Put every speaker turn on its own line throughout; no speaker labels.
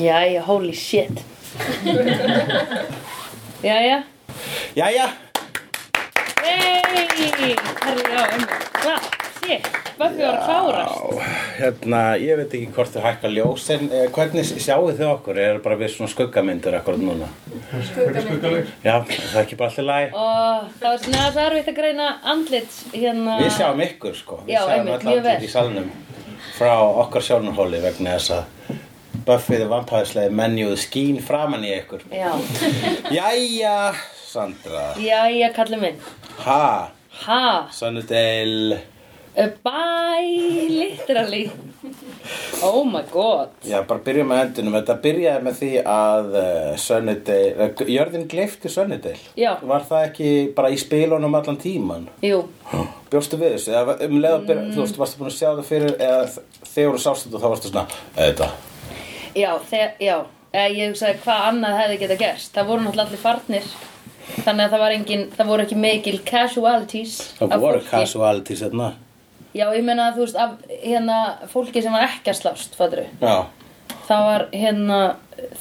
Jæja, holy shit Jæja
Jæja,
Hey, herri, já, einmitt. Já, shit, Buffy var að klárast
á, hérna, ég veit ekki hvort þau hækka ljós en eh, hvernig sjáu þau okkur? Er bara við svona skuggamyndur akkurat núna?
Skuggaleg.
Já, er það er ekki bara allir læg
og það var svona það er erfitt að greina andlit hérna
Við sjáum ykkur sko, við
Já,
sjáum
einmitt,
öll
mjög
andlit
vel.
í salnum frá okkar sjónarhóli vegna þess að Buffy the Vampire Slayer menjuð skín framan í ykkur
Já,
Jæja, Sandra
jæja, kallið minn
Ha,
Ha,
Sunnudale
uh, bye, literally Oh my god
Já, bara byrjum með endunum. Þetta byrjaði með því að uh, Sunnydale, uh, jörðin gleifti Sunnydale.
Já.
Var það ekki bara í spilunum allan tíman?
Jú,
Bjóstu við þessu? Eða um leið að byrja,
Mm.
þú veist, varstu búin að sjá það fyrir eða þ- þegar þú sást þetta þá varstu svona, þetta.
já, þegar, já Eh, Ég hugsaði hvað annað hefði geta gerst Það voru náttúrulega allir farnir Þannig að það var engin, það voru ekki mikil casualties af
Það voru hérna."
fólki.
casuality sérna.
Já, ég meina þú veist, af hérna fólki sem var ekki að slást, fattur við.
Já.
Það var hérna,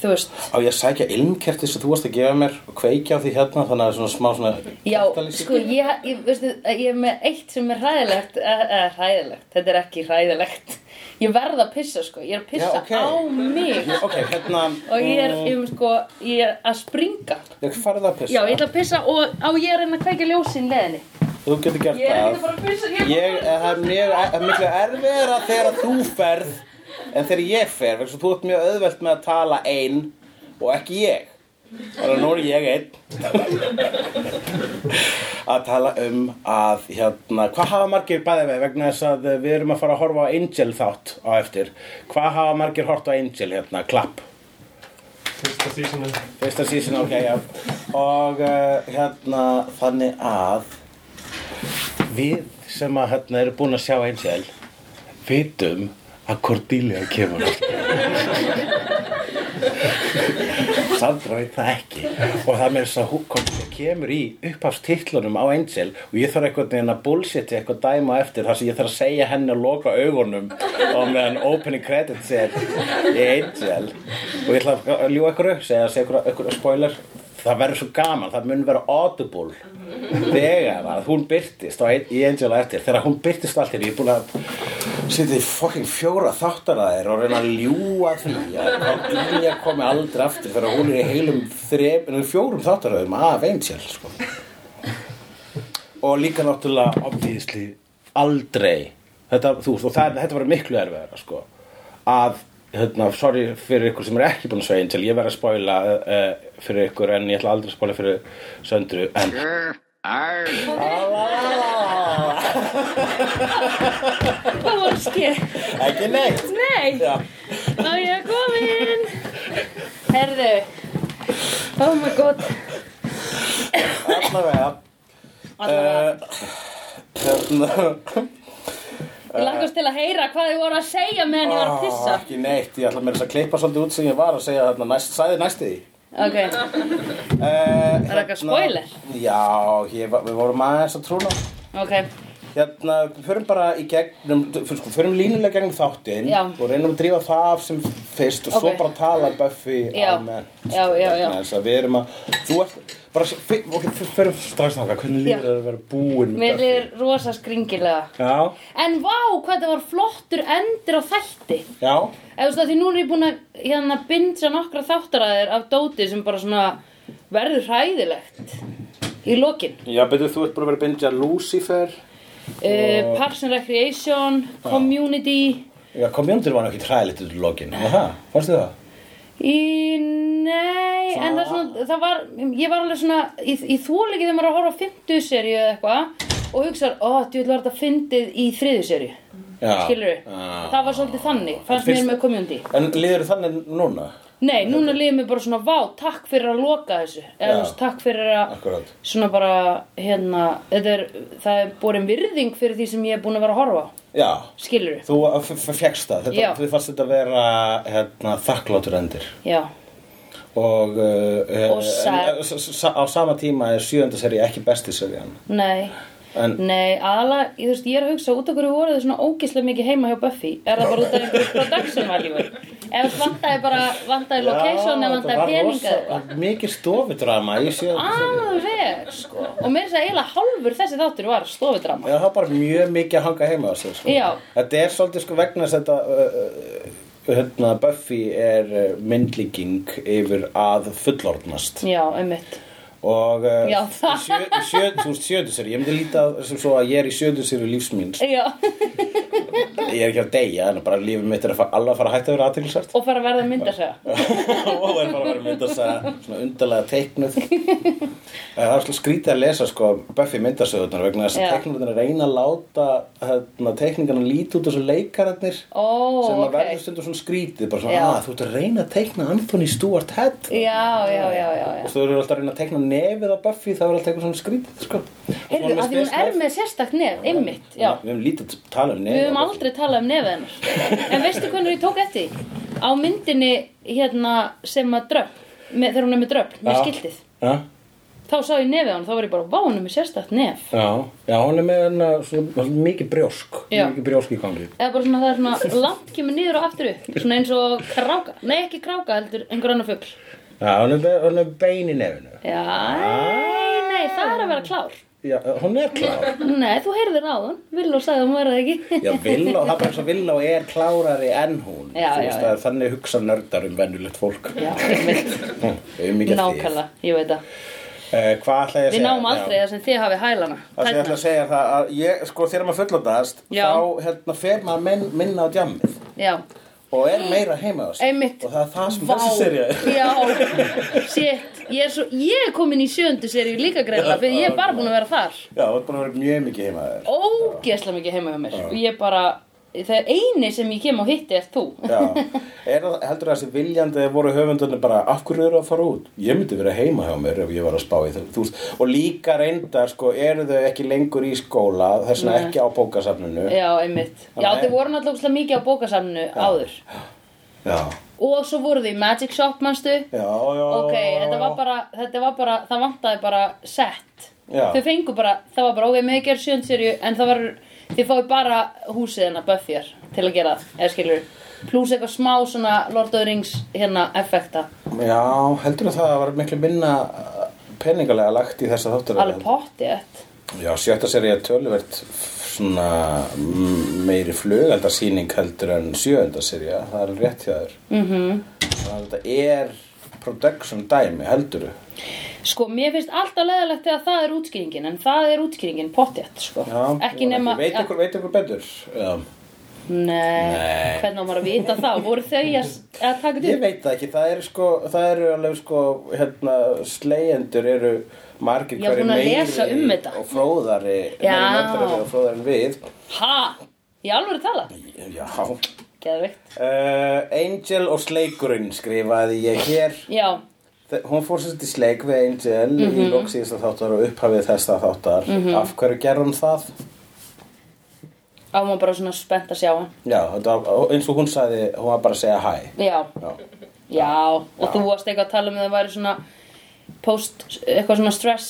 þú veist,
Á ég að sækja ilmkerti sem þú varst að gefa mér og kveikja á því hérna þannig að það er svona smá svona...
já,
kertalýsing.
sko, ég, ég, veistu, ég er með eitt sem er hræðilegt, eða eh, hræðilegt, þetta er ekki hræðilegt. Ég verð að pissa, sko, ég er að pissa
Já, ok.
á mig
Ok, hérna...
og ég er,
mm,
um, sko, ég er að springa.
Ég farið að pissa.
Já, ég ætla að pissa og á ég er að reyna að kveika ljósin leðinni.
Þú getur gert
Ég er hérna
það.
ekki bara að pissa, ég
Ég, eh, það er mjög, eh, miklu erfiðara þegar að þú ferð en þegar ég fer, vegna svo þú ert mjög auðvelt með að tala einn og ekki ég. Þannig að nú er ég einn að tala um að hérna, hvað hafa margir bæði með vegna þess að eh, við erum að fara að horfa á Angel þátt á eftir. Hvað hafa margir hort á Angel hérna, klapp?
Fyrsta sísonu.
Fyrsta sísin, ok, já. Og uh, hérna, þannig að við sem að hérna eru búin að sjá Angel vitum að Cordelia kemur Sandra veit það ekki og það með þess að hún Cordelia kemur í upphafstitlunum á Angel og ég þarf einhvern veginn að bullshiti eitthvað dæma á eftir þar sem ég þarf að segja henni að loka augunum og meðan opening credits er í Angel og ég ætla að ljúa ykkur upp segja, segja ykkur, ykkur spoiler það verður svo gaman, það mun vera audible þegar að hún byrtist á ein, í Angel á eftir, þegar hún byrtist allt hérna, ég er búin að sitja í fokking fjóra þáttana þér og reyna að ljúa því að Cordelia komi aldrei aftur þegar hún er í heilum þrem, nei, fjórum þáttaröðum af Angel sko. og líka náttúrulega obvíðisli aldrei þetta, þú, veist, og það, þetta var miklu erfiðara sko, að hérna, sorry fyrir ykkur sem er ekki búin að segja Angel, ég verð að spoila uh, fyrir ykkur en ég ætla aldrei að spoila fyrir söndru en
Hvað voru skil?
Ekki neitt
Nei!
Já.
Ná ég er komin Herðu Oh my god
Allavega eh,
Allavega,
Hérna Eh,
Ég lakast til að heyra hvað þið voru að segja meðan ég var að pissa
Ekki neitt, ég ætla mér að klippa svolítið út sem ég var að segja þarna næst, sæði næst í því
Ok,
uh, Það
er eitthvað spoiler?
Já, ég, var- við vorum aðeins að trúna
ok
Hérna, við förum bara í gegnum, fyrir, sko, förum línulega gegnum þáttinn
Já.
og reynum að drífa það af sem fyrst og svo
Ok.
bara tala Buffy
Já.
almennt.
Já, já, já.
Vegna þess að Við erum að, þú ert, bara, fyr- ok, fyr- förum strax náttúrulega, hvernig
Já.
líður þér að vera búin með
Mér
Buffy?
er rosa skringilega
Já,
En vá, hvað það var flottur endir á þætti
já,
Eða þú veist að því nú er ég búin að hérna bindja nokkra þáttaræðir af dóti sem bara svona verður hræðilegt í lokin
Já, betur þú ert búin að vera að bingja Lucifer
uh, Parks and Recreation, Community
Já, Community var ekki træðilegt út í lokin Aha, fannstu það?
Í, nei, en það, er svona, það var, ég var alveg svona, í, í þúleiki þegar maður er að horfa á 50 seríu eða eitthvað og hugsa, ó, djúvel var þetta fyndið í þriðju seríu,
Já
skilur við?
Já.
Það var svolítið þannig, fannst
Fyrst-
mér með community.
En liður þannig núna?
Nei, núna líður mér bara svona, vá, takk fyrir að loka þessu, eða
Já.
þú veist, takk fyrir að,
Akkurat
svona bara, hérna, þetta er, það er borin virðing fyrir því sem ég er búin að vera að horfa á,
Já,
skilur við?
þú uh, fjækst
Já.
það þetta, Þið fannst þetta að vera hérna, þakklátur endir
Já,
Og, uh,
Og
eh,
sad.
en, eh, s- s- Á sama tíma er sjöönda seri ekki besti seriðan
nei,
En-
Nei, aðalega, ég, þú veist, ég er að hugsa út okkur voru þau svona ógislega mikið heima hjá Buffy er það bara út af einhverju production value ef vantaði bara, vantaði location eða vantaði peninga Ah. eða eitthvað
peninga Mikið stofudrama Ég sé
alveg, sko og mér er þess að eiginlega hálfur þessi þáttur var stofudrama
Já, það er bara mjög mikið að hanga heima á sig sko.
Já.
Þetta er svolítið sko vegna þess að þetta uh, uh, hérna, Buffy er uh, myndlíking yfir að fullorðnast
já, einmitt
og uh,
Já, það-
sjö, sjö, þú veist sjöðusir ég myndi líta á sem svo að ég er í sjöðusir í lífsmýns
já,
ég er ekki að deyja en bara lífið mitt er að fara, alveg að fara að hætta að vera aðtilsvært
og fara að verða myndasega
og er bara að vera myndasæða svona undarlega teiknuð Eh, það er svona skrítið að lesa sko Buffy myndasöðunar vegna þess
Já.
að teiknunar reyna að láta hérna, teikningarna líti út þessu leikararnir
ó,
sem að
ok
verður stundum svona skrítið bara svona
Já.
að þú ert að reyna að teikna Anthony Stewart Head
já, já, já, já, já.
og þú eru alltaf að reyna að teikna nefið á Buffy það verður alltaf eitthvað svona skrítið sko
Heyrðu, að því hún er með sérstakt nef, ymmit, já.
við hefum lítið að tala um
Við
nefið
höfum
á Buffy.
aldrei talað um nefið hennar. En veistu hvernig ég tók eftir? því? Á myndinni hérna sem að dröpp, með, þegar hún er með dröpp, með
Já.
skiltið.
Já.
Þá sá ég nefið hann, þá var ég bara, vá, hún er með sérstakt nef.
Já, já, hún er með hana, svona, svona mikið brjósk,
Já.
mikið brjósk í gangi.
Eða bara svona það er svona langt kemur niður og aftur upp, svona eins og kráka. Nei, ekki kráka, heldur einhver annar fugl.
Já, hún er, með- hún er með bein í nefinu.
Já, nei, nei, það er að vera klár.
Já, hún er klár.
Nei, þú heyrðir á hann, vill og sagði að hún verði ekki.
Já, Villó, það er bara eins og Villó er klárari en hún.
Já,
Þú
já,
veist,
já.
það er þannig hugsa nördar um vennulegt fólk.
Já, einmitt,
Hm, Við erum mikið eftir því.
nákvæmlega, ég veit það.
Eh, hvað ætla ég að
Við
segja?
náum aldrei
Já.
það sem þið hafið hælana.
Það sem ég
Tærnar.
ætla að segja það að ég, sko, þegar maður fullotast,
Já.
þá hérna, fer maður minn, minna á djammið
Já,
og er meira heima á sig.
Einmitt.
Og það er það sem
vá,
um þessi serið er.
já, shit, ég er, svo, ég er komin í sjöndu seríu líka greinlega fyrir ég er bara búin að vera þar
Já, þú ert búin að vera mjög mikið heima á þér.
Ógeðslega mikið heima hjá mér og ég bara, það er eini sem ég kem og hitti er þú
Já, er það, heldur það þessi viljandi eða voru höfundunni bara, af hverju eru að fara út? Ég myndi vera heima hjá mér ef ég var að spá í það, þú veist, og líka reyndar, sko, eru þau ekki lengur í skóla, þess vegna
Nei.
ekki á bókasafninu.
Já, einmitt, já
Þannig-
þið voru náttúrulega ógeðslega mikið á bókasamnu áður
Já,
Og svo voru þið í Magic Shop, manstu
já, já.
Ok, þetta var bara, þetta var bara, það vantaði bara sett
Já.
Þau fengu bara, það var bara, ok, með ekki er sjöndu seríu en það var, þið fáið bara húsið hennar Buffyar til að gera það, eða skilur Plús eitthvað smá svona Lord of the Rings hérna effekta
Já, heldur það að það var miklu minna uh, peningalega lagt í þessa þáttur.
Alveg potti þetta
Já, sjötta seri er töluvert f- svona mm, meiri flugeldarsýning heldur en sjöönda seri, það er rétt hjá þér. Mm
Mhm.
-hmm. Þetta er production dæmi, heldur þú?
Sko, mér finnst alltaf leðalegt þegar það er útskýringin en það er útskýringin potti þetta, sko Ekki nema
Veit ykkur, veit ykkur betur já.
Nei,
Nei.
hvernig á maður að vita það? Voru þau að, að taka þetta
Ég
upp?
veit það ekki, það eru sko það eru alveg sko hérna, slegjendur eru margir
Já,
hverju
búin að
meiri
lesa um þetta.
og fróðari
Já.
meiri nördarari og fróðari en við
Ha? Í alvöru tala?
Já
Geðvikt
uh, Angel og Sleikurinn skrifaði ég hér
Já,
Þe- Hún fór sérst í sleik við Angel
Mhm.
í lók síðasta þáttar og upphafið þessa þáttar Af hverju gerði hún það?
á maður bara svona spennt að sjá hann
Já, þetta var, eins og hún sagði, hún var bara að segja hæ
Já,
Já
já, og þú varst eitthvað að tala um að það væri svona post, eitthvað svona stress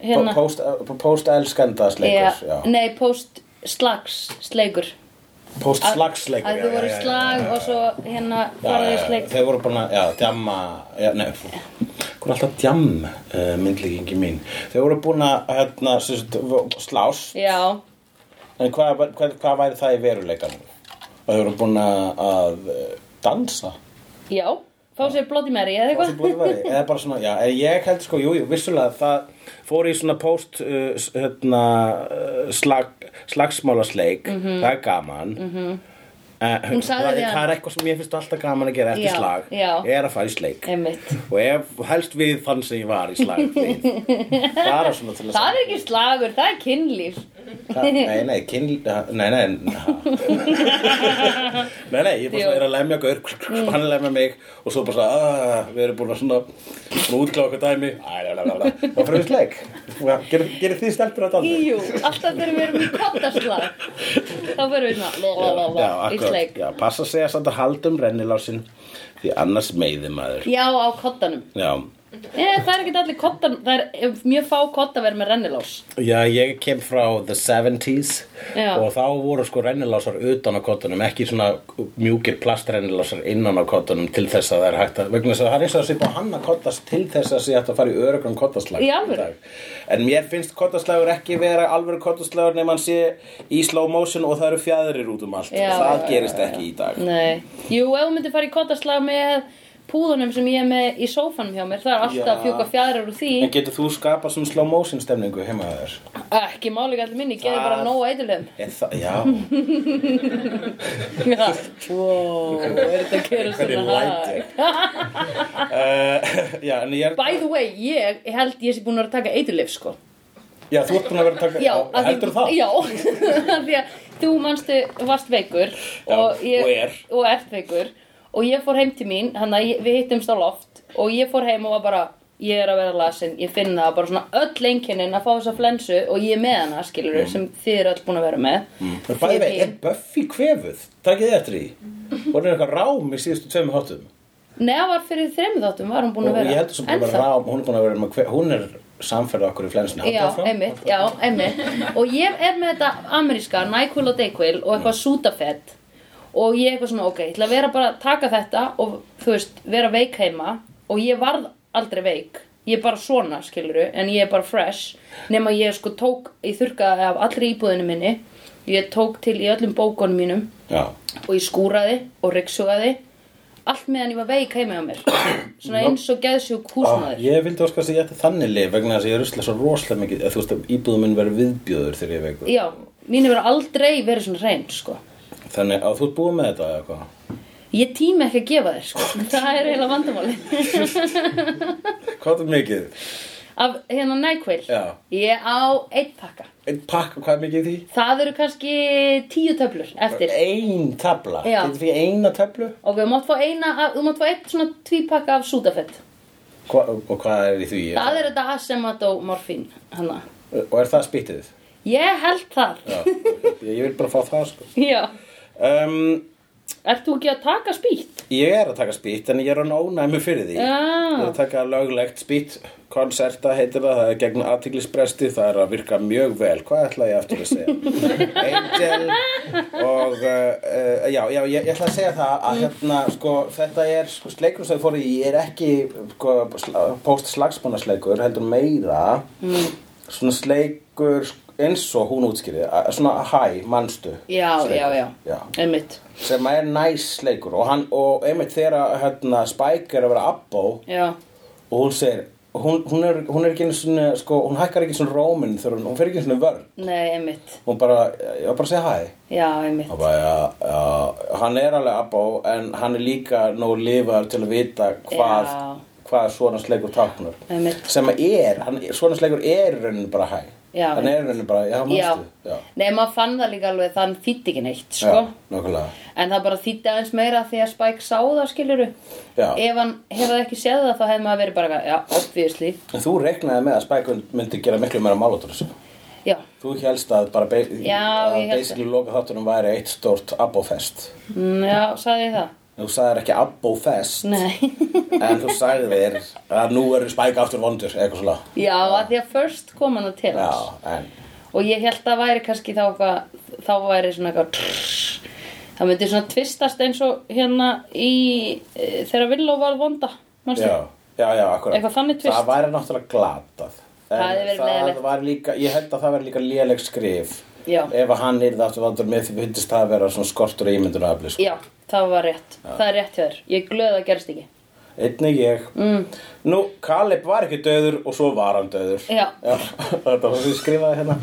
hérna.
Post, eh, post elskenda sleikur
Já,
já.
Nei, post slags sleikur.
Post
Að-
slagsleikur
Að þú voru í slag og svo hérna faraði í sleik.
Þeir voru búin að, já, djamma já, Nei, hún er alltaf djamm uh, myndlíkingi mín Þeir voru búin að, hérna, sem sagt, vo- slást
Já,
En hvað hva, hva, hva væri það í veruleikanum? Og þeir voru búin að, að eh, dansa
já, fá sér Bloody Mary eða
Hvað sem
eitthvað.
búið væri. eða bara svona, já, en ég held sko, jú, jú, vissulega það fór í svona post uh, s- hérna, uh, slag, slagsmálasleik það er gaman mm -hmm.
Mhm. Hún sagði
það,
við
það er eitthvað sem ég finnst alltaf gaman að gera eftir
Já,
slag
já.
er að fara í sleik
Einmitt.
og ef helst við þann sem ég var í slag við bara svona til að
Það er ekki slagur, það er kynlíf.
Það- nei, nei, kynl nei, nei na. nei, nei, ég bara svona
Jú.
er að lemja gaur
Mm.
hann lemja mig og svo bara svona "Ah, við erum búin að svona útkláða okkur dæmi Æ, la, la, la, la. og fyrir sleik gerir gerir þið stelpur að daldi
Jú, alltaf þegar við erum í kottaslag, þá fyrir við svona la, la, la, la, í sleik.
já, passa að segja samt að halda um rennilásin því annars meiði maður
Já, á kottanum.
já
Ég, það er ekki allir kottar, það er eh, mjög fá kottaverð með rennilás.
Já, ég kem frá the 70s
Já.
og þá voru sko rennilásar utan á kottunum, ekki svona mjúkir plastrennilásar innan á kottunum til þess að það er hægt að, vegna þess að það er eins og að sitja á hann að kottast til þess að sé hægt að fara í örugum kottaslag.
Í alvöru?
dag. En mér finnst kottaslagur ekki vera alvöru kottaslagur nema hann sé í slow motion og það eru fjæðrir út um allt.
Já,
það
já,
gerist ekki í dag.
Nei. Jú, ef þú myndir fara í kottaslag með púðunum sem ég er með í sófanum hjá mér, það er alltaf
Já.
að fjúka fjæðrar úr því.
En getur þú skapað svona slow motion stemningu heima þér?
Ekki málega allir minni, ég gerði bara
Það-
nóg eitthulum.
Er það, já,
Wow, er þetta að gera
hvernig
svona
læti? uh, já, en ég er...
By the way, ég held ég sé búin að vera að taka eitthulif, sko.
Já, þú ert búin að vera að taka
Já, af því-
Heldur það?
Já, af því að þú manstu varst veikur og,
Já, og er.
og ert veikur og ég fór heim til mín, hann að ég- við hittumst á loft og ég fór heim og var bara ég er að vera lasin, ég finn það bara svona öll einkennin að fá þessa flensu og ég er með hana, skilur
Mm.
sem þið eru öll búin að vera með
En Bæði vei, er Buffy kvefuð? Takkið þið eftir í Hún er eitthvað rám í síðustu tveimur hátum
Nei, það var fyrir þreymið þáttum, var hún búin
Og
að vera
ég heldur sem búin að vera rám Hún er búin að vera með kvef Hún er samferða okkur í flensinu Haldið
Já,
áfram?
einmitt, já, einmitt Og ég er með þetta ameríska, Nyquil og Dayquil og eitthvað
Mm.
sútafett og ég eitthvað svona, ok, ég ætla að vera bara að taka þetta og, þú veist, vera veik heima og ég varð aldrei veik ég er bara svona, skiluru, en ég er bara fresh nema ég sko tók ég þurrkaði af allri íbúðinu minni ég tók til í öllum bókunum mínum
Já,
og ég skúraði og ryggsugaði allt meðan ég var veik heima hjá mér svona eins og geðsjúk
ah,
húsmaður
Ég vildi óskast að ég ætti þannig lif vegna þess að ég rusla svo rosalega mikið eða Þú veist að íbúðum minn verið viðbjóður þegar ég er veikur
Já, mín hefur aldrei verið svona reyn, sko.
Þannig að þú ert búin með þetta eða eitthvað
Ég tími ekki að gefa þér, sko. Það er eiginlega vandamáli.
Hvað er mikið?
Af hérna nækveil,
Já.
ég á einn pakka.
Einn pakk, hvað er mikið í því?
Það eru kannski tíu töflur eftir.
Ein tabla
Já.
Getur því eina tablu?
Ok, þú mátt fá eina, af- þú mátt fá eitt svona tvípakka af sútafett.
Hva, og hvað er í því?
Það er þetta asemadómorfín, hanna.
Og er það spýttið?
Ég held það.
Já, ég ég vil bara fá það sko
Já.
um,
Ert þú ekki að taka spýtt?
Ég er að taka spýtt en ég er hann ónæmi fyrir því Ég er
Já.
að taka löglegt spýtt Konserta heitir það, það er gegn aðtiklisbresti Það er að virka mjög vel Hvað ætla ég aftur að segja? Angel Og uh, uh, já, já, ég, ég ætla að segja það að hérna, sko, þetta er sko, sleikur sem ég fór í, ég er ekki sko, sla- post-slagsmannasleikur heldur meira
Mm.
svona sleikur eins og hún útskýrði, að- svona hæ, manstu
Já, já, já.
já
Einmitt.
sem er næs leikur og, hann, og einmitt þegar hérna, Spike er að vera abbó
Já.
og hún segir hún, hún, er, hún er ekki einu svona sko, hún hækkar ekki svona róminn þegar hún, hún fer ekki einu svona vörn
Nei, einmitt.
hún bara, ég var bara að segja hæ
Já, einmitt.
Hann bara, já, já, hann er alveg abbó en hann er líka nóg lifaður til að vita hvað,
Já.
hvað svona sleikur táknur
Einmitt.
sem er, hann, svona sleikur er í rauninni bara hæ
Já.
hann er í rauninni bara, já,
Já.
manstu já,
Nei, maður fann það líka alveg, þann þýtti ekki neitt, sko.
já nokkulega
En það bara þýtti aðeins meira því að Spike sá það, skiluru.
Já.
Ef hann hefði ekki séð það, þá hefði maður verið bara, eitthvað, já, obviously.
en þú reknaði með að Spike myndi gera miklu meira sko. málatur þessu
Já,
Þú helst að bara be-
Já,
að
ég held
basically loka þáttunum væri eitt stórt abbófest.
mm, já, sagði ég það.
Þú sagðir ekki abbófest,
Nei.
en þú sagðir að nú eru spæk aftur vondur, eitthvað svona.
já, að því að first kom hann til
Já,
hans.
en
Og ég held að væri kannski þá eitthvað, þá væri svona eitthvað, það myndi svona tvistast eins og hérna í, e, þegar Villó var vonda, mannstu?
já, já, já, akkurat.
Eitthvað þannig tvist.
Það væri náttúrulega glatað. En
Það hefði verið leiðinlegt.
það var líka, ég held að það væri líka léleg skrif.
Já.
Ef að hann yrði aftur vondur með því myndist það að vera svona skortur í ímynduna afli, sko.
Já, það var rétt. Það er rétt hjá þér. Ég er glöð að það gerist ekki.
Einnig ég. Mm. Nú, Kaleb var ekki döður og svo var hann döður.
Já.
þetta var sem ég skrifaði hérna.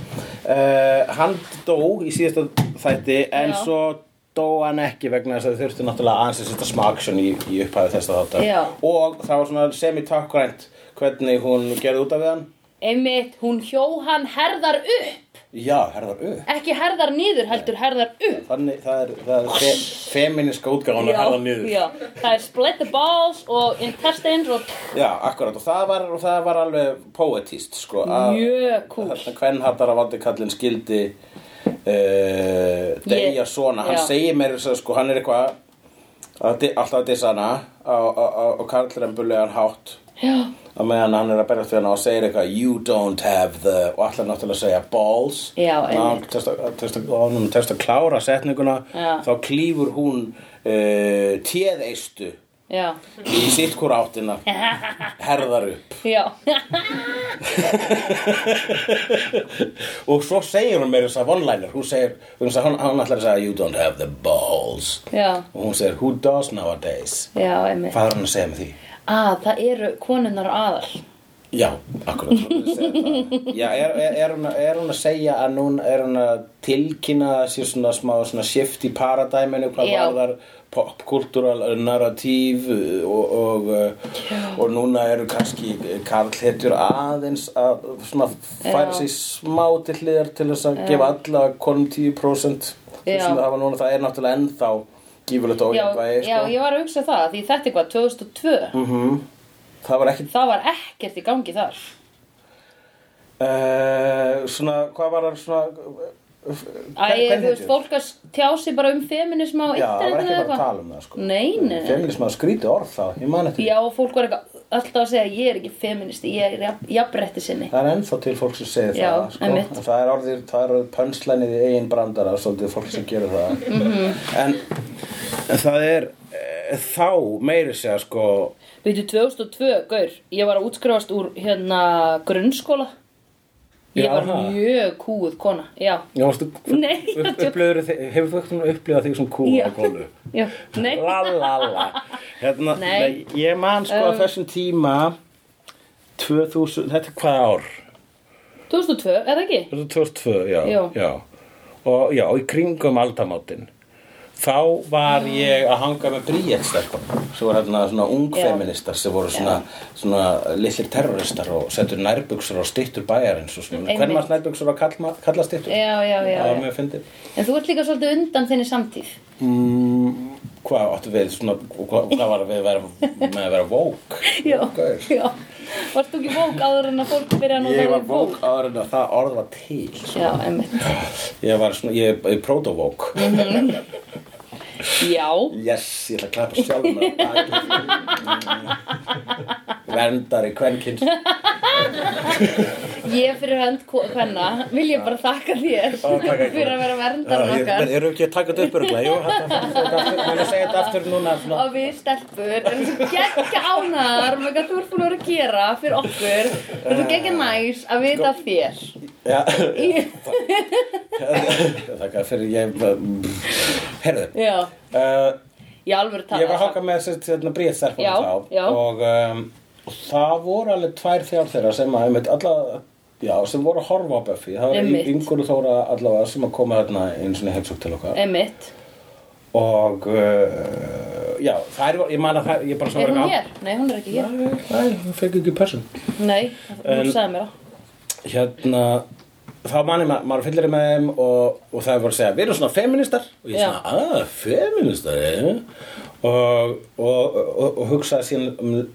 Uh, hann dó í síðasta þætti en
Já.
svo dó hann ekki vegna þess að þau þurftu náttúrulega aðeins að setja smaksjón í, í upphæðu þessa þáttar.
Já.
Og það var svona semi-takkvænt hvernig hún gerði út af við hann.
Einmitt, hún hjó hann herðar upp.
Já, herðar upp.
Ekki herðar niður, heldur herðar upp.
Þannig, það er, það er fe feminiska útgáðan að herða niður.
já, það er split the balls og intestines og
Já, akkurat og það var, og það var alveg poetíst sko, að-
Mjög kúl.
Þarna hvern hattar að vandi kallinn skildi uh, deyja
Ég-
svona Hann
já.
segir mér þess að sko, hann er eitthvað að di- alltaf að dissa hana á- á- á- og karlrembulegan hátt
já,
á meðan hann er að berjast við hana og segir eitthvað you don't have the og allar náttúrulega að segja balls
Já,
Ná, hann
einmitt.
tekst að- tekst að- og hann test að klára setninguna
Já.
þá klýfur hún uh, téðeistu
já,
í sitt hvora áttina herðar upp
já,
og svo segir hún meira þess að one-liner hún segir, hún, sagði- hann, hann ætlar að segja you don't have the balls
já,
og hún segir who does nowadays
já, einmitt.
hvað er hann að segja með því?
Að, það eru konunnar aðal.
Já, akkurat Já, er, er, er, hún, að- er hún að segja að núna er hún að tilkynna að sé svona smá svona shift í paradæminu hvað
Já.
varðar popkultúral narratív uh, og, og, uh, og núna eru kannski karlhetjur aðeins að svona færa
Já.
sig smá til hliðar til þess að gefa alla konum 10%
Já.
sem það var núna, það er náttúrulega ennþá gífulegt
Já,
ójafnvægi
já,
sko. Mm. Mhm.
ég var að hugsa það, því þetta er hvað, 2002,
það var ekki
það var ekkert í gangi þar.
uh, svona, hvað var það svona eh,
Æ,
Hvern-
þú veist,
hvernhetjur?
fólk að tjá sig bara um feminisma á
Já, það var
internetinu
ekki
eða
bara að
eitthvað.
tala um það sko
Nei, nei, nei.
Feminism að skríti orð þá, ég man eftir því.
Já, og fólk var eitthvað alltaf að segja, ég er ekki feministi, ég er jafn- jafnrétti sinni.
Það er ennþá til fólk sem segir
Já,
það sko.
einmitt.
En Það er orðið, það er orðið pönslænið í eigin brandara Svolítið fólk sem gerir það
Mhm.
en, en það er e, þá meiri segja sko
Veitu, 2002, gaur, ég var að útskrifast úr hérna grunnskóla. Ég
Já,
var
ha.
mjög kúð kona, já.
Já, varstu,
Nei,
upp, upplifur, hefur þú eitthvað upplifað þig sem kúra
Já.
kólu?
já, nei,
la la la hérna,
Nei.
nei. ég man sko að
Um.
þessum tíma 2000, þetta er hvað ár?
2002, eða ekki?
2002, já,
Já.
já. Og já, í kringum aldamáttin. Þá var ég að hanga með bríetstelpunum sem voru hérna svona ungfeministar sem voru svona, svona litlir terroristar og settur nærbuxur og styttur bæjarins og svona.
Einmitt.
Hvern maður nærbyggsur að kalla, kalla styttur?
Já, já, já,
Það var
já.
mjög fyndið.
En þú ert líka svolítið undan þinni samtíð.
Mm, hvað áttu við svona, hvað, hvað var við vera, með að vera vók?
Já, já. Varst þú ekki vók áður en að fólk byrja að nota
Ég var
orðið
vók áður en að það orð var til.
Já, emmitt.
Ég var svona, ég er proto-vók.
Já.
Yes, ég ætla að klappa sjálf með baki. Verndari kvenkins.
Ég fyrir hönd hvenna vil ég bara þakka þér fyrir að vera verndar okkar
Erum ekki að taka þetta upp örgla? Jú, hann að segja þetta aftur núna. svona.
og við stelpur en svo gegg ánaðar með hvað þú ert búin að vera að gera fyrir okkur og svo gegg næs að
Sko-
vita af þér
Já, þakka fyrir ég... Herðu,
Já,
uh,
í alvöru tala
ég var að hanga með þessi hérna,
Já,
bríðstarfum
já.
þá og um, það voru alveg tvær þjár þeirra sem að, einmitt, alla, já, sem voru að horfa á Buffy. Það var
Einmitt.
yngur og þóra allavega sem að koma þarna eins og heimsók til
Eh.
okkar.
Emmitt
og uh, já, þær var, ég man að þær, ég bara svo
Er
var
hún
eitthvað-
hér? Nei, hún er ekki hér
Nei, Nei, hún fekk ekki person
Nei, hún
En-
sagði mér það
Hérna, þá man ég ma- maður fyllir með þeim og, og það voru að segja, við erum svona feministar og ég
Já.
svona, að, feministar, eh? og, og, og, og hugsaði síðan um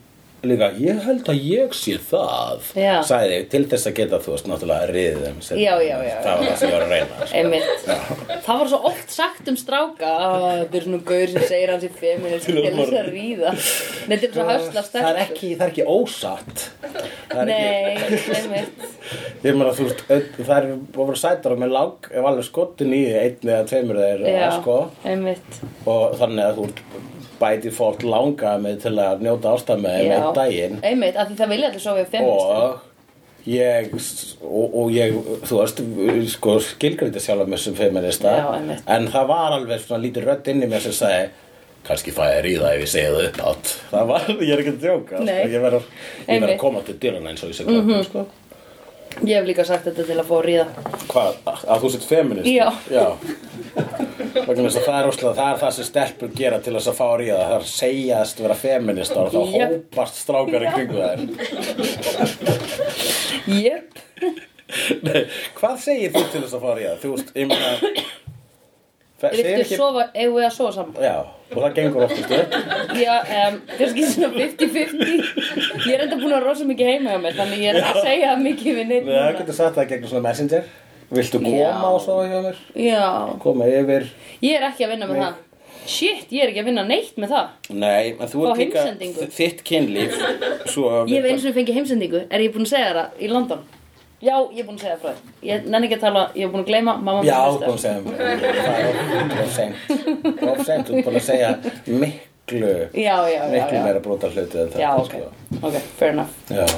líka, ég held að ég sé það
Já.
sagði ég, til þess að geta þú veist náttúrulega að riðið þeim sem-
Já, já, já,
það var það sem ég var að reyna sko.
Emmitt Það var svo oft sagt um stráka að þetta er svona gaur sem segir hans í feminist til þess að ríða Nei, til þess að hösla
það er
stelpur
ekki, það er ekki ósatt það er ekki,
Nei, emmitt
Ég meina þú veist, einn- það er bara sætara með lag ef alveg skotin í því, einn eða tveimur þeir
Já,
sko
einmitt
og þannig að þú ert bæti fólk langa með til að njóta ástæmi með
Já.
daginn
Einmitt, af því það vilja allir sofa í feminist
og ég og, og ég, þú veist, sko skilgreita sjálf með sem feminista
Já, einmitt.
en það var alveg svona lítið rödd inn í mér sem sagði kannski fæ ég að ríða ef ég segi það upp átt það var, ég er ekki að djóka sko.
Nei.
ég verð að, ég verð
Einmitt. Mhm.
að koma til dyrana eins og ég segi mm -hmm. sko.
Ég hef líka sagt þetta til að fá að ríða
Hvað, að þú sett feminist?
Já.
Vegna þess að það er óslega, það er það sem stelpur gera til þess að fá ríða. Það er að segjast vera feminist og þá
Já.
hópast strákar í kringu þær.
Jöp
Nei, hvað segir þú til þess að fá ríða? Þú veist, ég meina... Það
Viltu
segir ekki...
sofa, eigum við að sofa saman?
Já, og það gengur oftast upp.
Já, um, kannski svona 50-50 Ég er enda búin að vera rosa mikið heima hjá mér Þannig ég er ekki að segja það mikið við neitt
Nei, það
núna.
getur sagt það gegnum svona messenger. Viltu koma
Já.
og svo hjá mér?
Já,
Koma yfir...
ég er ekki að vinna með
Nei.
það shit, ég er ekki að vinna neitt með það
Nei, en þú
Fá
ert líka
heimsendingu.
þi- þitt kynlíf svo að
Ég hef
vita-
eins og fengið heimsendingu, er ég búin að segja þér það í London? Já, ég er búin að segja það frá þér Ég nenni ekki að tala, ég er búin að gleyma mamma
Já,
mín
kom
hlusta.
sem Það er seint Það er seint, þú ert búin að segja miklu
Já, já, já,
miklu
já.
meira brota hluti en þetta
Já, ok,
sko.
ok, fair enough
Já.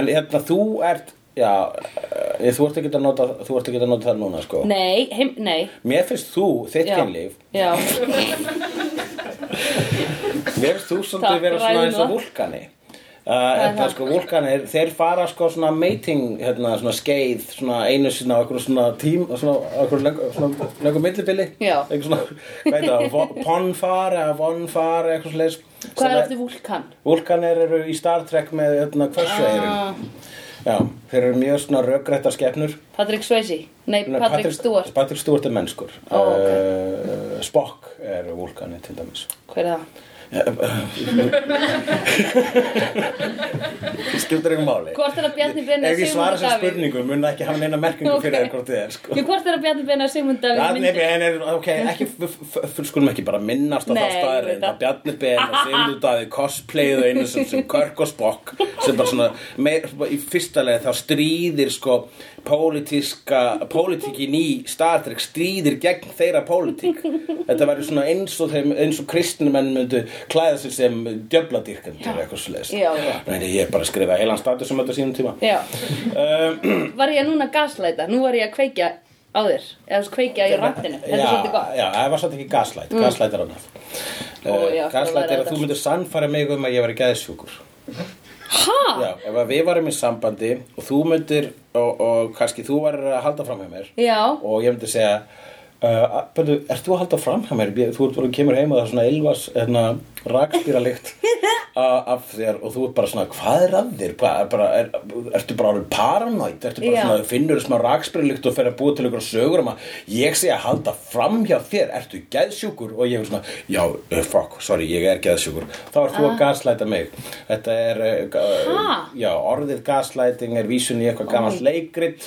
En hérna, þú ert Já, eh, þú ert ekki að nota þú ert ekki að nota það núna, sko
Nei, heim, nei
Mér finnst þú, þitt
já.
kynlíf
Já,
Mér finnst þú svolítið
Takk,
vera svona
ræðum
eins og
það.
vulkani Uh, en það
það.
sko, vulkanir, þeir fara sko svona mating, hérna, svona skeið svona einu sinna á einhverju svona tím svona á einhverju löngu, svona löngu millibili
Já.
eitthvað svona, veit það, ponfar eða vonfar, eitthvað svona
hvað er aftur vulkan?
Vulkanir eru í Star Trek með hérna, hversu
Ah,
Já, þeir eru mjög svona röggrættar skepnur
Patrick Swayze Nei,
Nei,
Patrick, Stewart
Patrick Stewart er mennskur
Ó, ok.
uh, Spock er vulkani til dæmis
Hver er það?
Skildur ekki máli
Hvort er það Bjarni Benni
Ef ég svara sem
Davíð?
spurningu mun það ekki hafa neina merkingu
Ok.
fyrir þér hvort þið er sko
Jú, hvort er það Bjarni Benni og Sigmund Davíð
Ja,
í
nei,
myndinni?
en er, ok, ekki, f- f- f- skulum ekki bara minnast á
Nei,
það
ég veit
staðarinn
það.
að Bjarni Ben og Sigmundur Daði cosplayðu einu sem, sem Körk og Spock sem bara svona, meir, í fyrsta leið þá stríðir sko pólitíska, pólitíkin í Star Trek stríðir gegn þeirra pólitík þetta verður svona eins og þeim, eins og kristnumenn myndu klæða sig sem djöfladýrkendur eitthvað sliðist
Já, já.
Nei, ég er bara að skrifa heilan status um þetta á sínum tíma
Já,
um,
var ég núna að gaslæta? Nú var ég að kveikja á þér Eða þú veist, kveikja í rantinu Þetta er
Já,
svolítið gott
Já, það var svolítið ekki gaslæt, mm. gaslæt er annað
Ó, já,
Uh, Gaslæt
það
er
var
að þú
þetta.
myndir sannfæra mig um að ég væri gæðsjúkur
Ha?
Já, ef að við varum í sambandi og þú myndir, og, og kannski þú varir að halda fram hjá mér
Já,
og ég myndi segja uh, bæðu, ert þú að halda fram hjá mér? Ég- Þú ert bara kemur heim og það er svona ilvas hérna, rakstýralikt af þér og þú ert bara svona, hvað er að þér? Bara, bara, er, ertu bara alveg paranoid? Ertu bara
Já.
svona, finnur smá rakstýralikt og fer að búa til ykkur sögur um að ég sé að halda fram hjá þér, ertu geðsjúkur? Og ég er svona, já, eh, fuck, sorry, ég er geðsjúkur. Þá ert þú að gaslæta mig. Þetta er, eh, ga-
Ah. Ha?
já, orðið gaslæting er vísun í eitthvað gammalt leikrit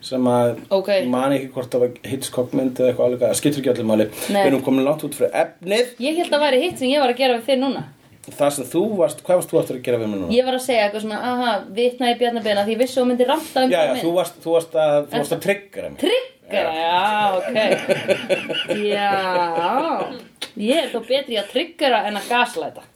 sem að
Ok.
man ekki hvort það var Hitchcock mynd eða eitthvað alveg að skiptir ekki allir máli
Nei.
við erum komin langt út fyrir efnið
ég held að væri hitt sem ég var að gera við þig núna
það sem þú varst, hvað varst þú aftur að gera við mig núna?
Ég var að segja eitthvað svona, aha, vitna í Bjarni Benni af Því ég vissi að hún myndi ranta um
já, já,
það
þú varst, þú varst að, þú varst að tryggra mig
Tryggara, já, ok Já Ég er þó betri í að tryggara en að gaslæta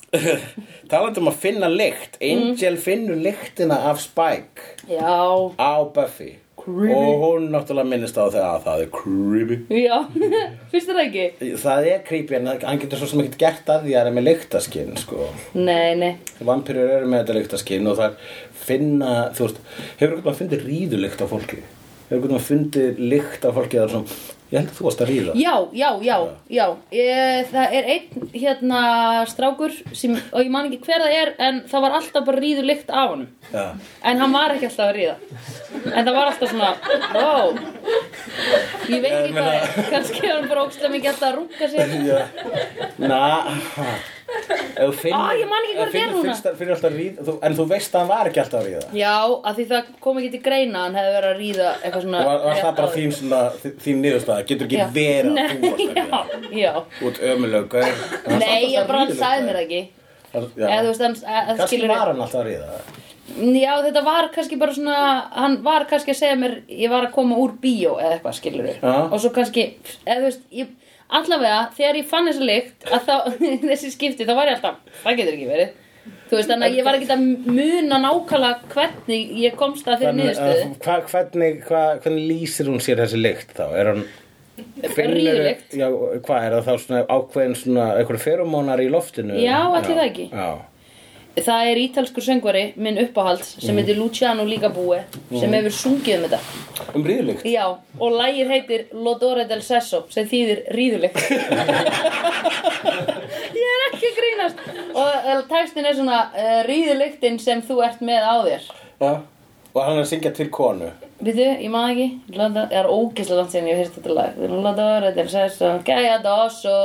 talandi um að finna lykt
Mm.
Angel finnur lyktina af Spike
Já,
á Buffy creepy. og hún náttúrulega minnist á þegar að það er creepy
já, finnst þér það ekki?
það er creepy en hann getur svo sem ekkert gert að því að það er með lyktaskinn sko.
Nei, nei
vampirur eru með þetta lyktaskinn og það finna, þú veist, hefur eitthvað að fundið ríðulykt á fólki? Hefur eitthvað að fundið lykt á fólki eða svona, ég held að þú varst að ríða.
Já, já, já, já ég, Það er einn hérna strákur sem, og ég man ekki hver það er en það var alltaf bara ríður lykt af honum
Já.
en hann var ekki alltaf að ríða en það var alltaf svona ó, ég veit
Ég
ekki hvað
meina-
það er kannski er hann bara ógstlega mikið alltaf að rúka sér
Já. Na, ef þú finn,
Á, ég man ekki hvað það er núna.
Finnur alltaf að ríða, þú, en þú veist að hann var ekki alltaf að ríða.
Já, að því það kom ekki til greina að hann hefði verið að ríða eitthvað svona
Og var, var
rétt
það bara
áður.
þín, svona, þí- þín niðurstaða, getur ekki
Já.
verið að þú varst að ríða.
Nei, já, já
Út ömulög, gau.
Nei, ég bara hann sagði mér það ekki Eða þú
ekki.
veist, hann, að- að
Kannski
skilur
var hann alltaf að ríða.
Já, þetta var kannski bara svona, hann var kannski að segja mér, ég var að koma úr bíó eða eitthvað, skilur við.
Já.
Og svo kannski, eða þú veist, ég, allavega, þegar ég fann þessa lykt, að þá, þessi skipti, þá var ég alltaf, það getur ekki verið. Þú veist, þannig að ég var ekki að muna nákvæmlega hvernig ég komst að þeirri
Þannig að
niðurstöðu.
eh, hva, hvernig, hva, hvernig lýsir hún sér þessi lykt þá? Er hún
Ríðulykt.
Já, hvað er það þá svona ákveðin svona einhverju feromónar í loftinu?
Já, ætli það ekki.
Já,
Það er ítalskur söngvari, minn uppáhalds,
Mhm.
sem heitir Luciano Ligabue, sem hefur sungið um þetta.
um ríðulykt.
Já, og lægir heitir Lodore del Sesso sem þýðir ríðuleg Ég er ekki að grínast og eh, textin er svona uh, ríðulegtin sem þú ert með á þér
Já, og hann er að syngja til konu.
Vitu, ég maður ekki, Lodo- það er ógeðslega langt síðan ég hef heyrst þetta lag Lodore del Sesso, gæja dosso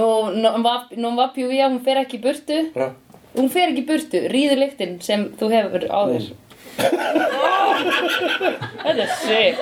og non va- non va più via, hún fer ekki í burtu
Já.
hún fer ekki í burtu, ríðulegtin sem þú hefur á þér Þetta er sick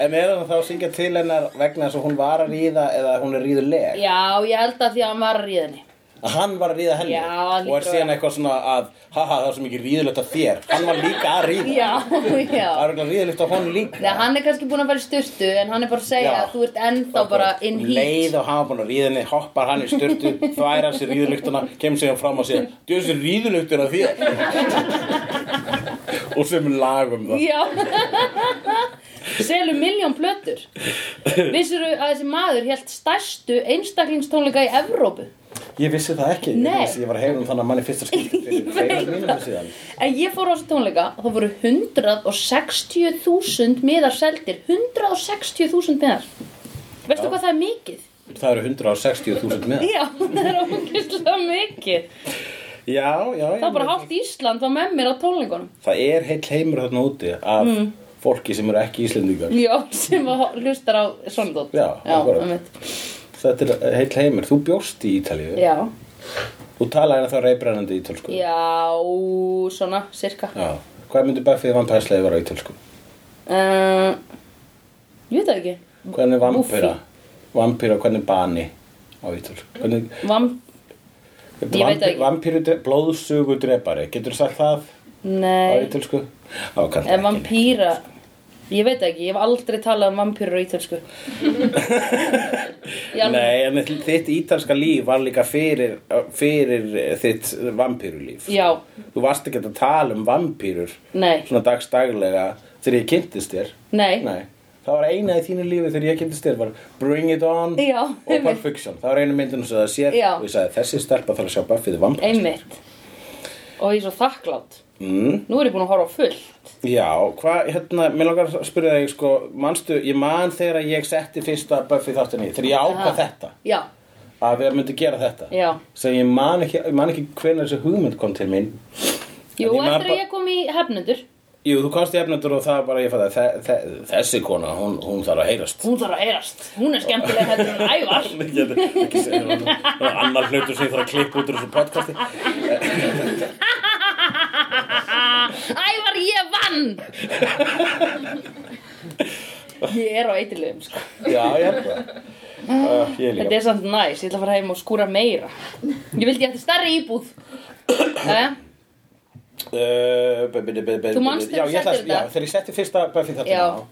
En er hann þá að syngja til hennar vegna þess að hún var að ríða eða hún er ríðuleg?
Já, ég held að því að hann var að ríða henni
Að hann var að ríða henni?
Já, hann
Og er
hlýtur að
síðan
vera.
eitthvað svona að, haha, það er svo mikið ríðulegt að þér. Hann var líka að ríða.
Já,
Það
já
er eitthvað ríðulegt að honum líka.
Nei, hann er kannski búin að fara í sturtu en hann er bara að segja
Já.
að þú ert ennþá
Og
bara
bara
in
um
heat
Leið og hafa búin að ríða henni, hoppar hann í styrtu, þværar sér ríðulugtuna, kemur sig hann fram og sér, djöðs er ríðulugtur að þér. og sem lagum það.
Já Selur miljón plötur Vissirðu að þessi maður hélt stærstu einstaklingstónleika í Evrópu
Ég vissi það ekki.
Nei.
Ég, vissi, ég var að heyra um þannig að manni fyrsta skipti fyrir tveimur mínum síðan.
En ég fór á þessu tónleika og það voru 160.000 miðar seldir 160.000 miðar Veistu hvað það er mikið?
Það eru 160.000 miða.
Já, það er ógeðslega mikið
Já, já.
Það var bara hálft Ísland var með mér á tónleikunum
það er heill heimur þarna úti af
Mm.
fólki sem eru ekki íslendingar
Já, sem að ho- hlustar á svona dót
Já, akkurat.
einmitt.
þetta er heill heimur, þú bjóst í Ítalíu
Já,
þú talaði hérna þá reybrennandi ítalsku
já, svona, cirka
Já. hvað myndi Buffy vann pæslega vera á ítalsku
uh, Ég veit það ekki
hvernig vampýra vampýra, hvernig bani á ítalsku hvernig,
Vam, Mm. Ég veit það ekki.
vampýru, blóðsugu drepari getur þú sagt það á
nei
ítalsku á, kannski
En
ekki.
vampýra Ég veit það ekki, ég hef aldrei talað um vampýrur á ítölsku Í alvöru.
Nei, en þitt ítalska líf var líka fyrir, fyrir þitt vampýrulíf
Já,
Þú varst ekki að tala um vampýrur
nei,
svona dagstaglega þegar ég kynntist þér
nei,
Nei, það var eina í þínu lífi þegar ég kynntist þér var Bring It On
Já,
og Pulp
einmitt.
Fiction það var einu myndin sem það sér
Já.
og ég sagði þessi stelpa þarf að sjá Buffy the Vampire
einmitt Og ég er svo þakklátt
mm,
Nú er ég búin að horfa á fullt
Já, hvað, hérna, mér langar að spyrja þig sko, manstu, ég man þegar ég setti fyrsta Buffy þáttinni, þegar ég ákvað
Aha.
þetta
Já,
að við myndum gera þetta
já
sem ég man ekki, ég man ekki hvenær þessi hugmynd kom til mín
Jú,
En ég man
eftir
bara-
að ég kom í hefnundur
Jú, þú komst í efnendur og það var bara ég fæði þe þe þessi kona, hún, hún þarf að heyrast
Hún þarf að eirast, hún er skemmtileg heldur en ævar
Ég get ekki segja það nú. Það er annar hlutur sem ég þarf að klippa út úr þessu podcasti
Ævar, ég vann Ég er á eitilöfum, sko
Já, ég held það uh, Ég
Ah, Þetta
líka
er samt næs, ég ætla að fara heim og skúra meira Ég vildi ég ætti stærri íbúð Eh? Jæja,
Uh, be- be- be- be- be-
Þú manst
Já,
þegar þú
ég ætla að-
settir
Já,
þetta?
þegar ég setti fyrsta Buffy þetta
Já.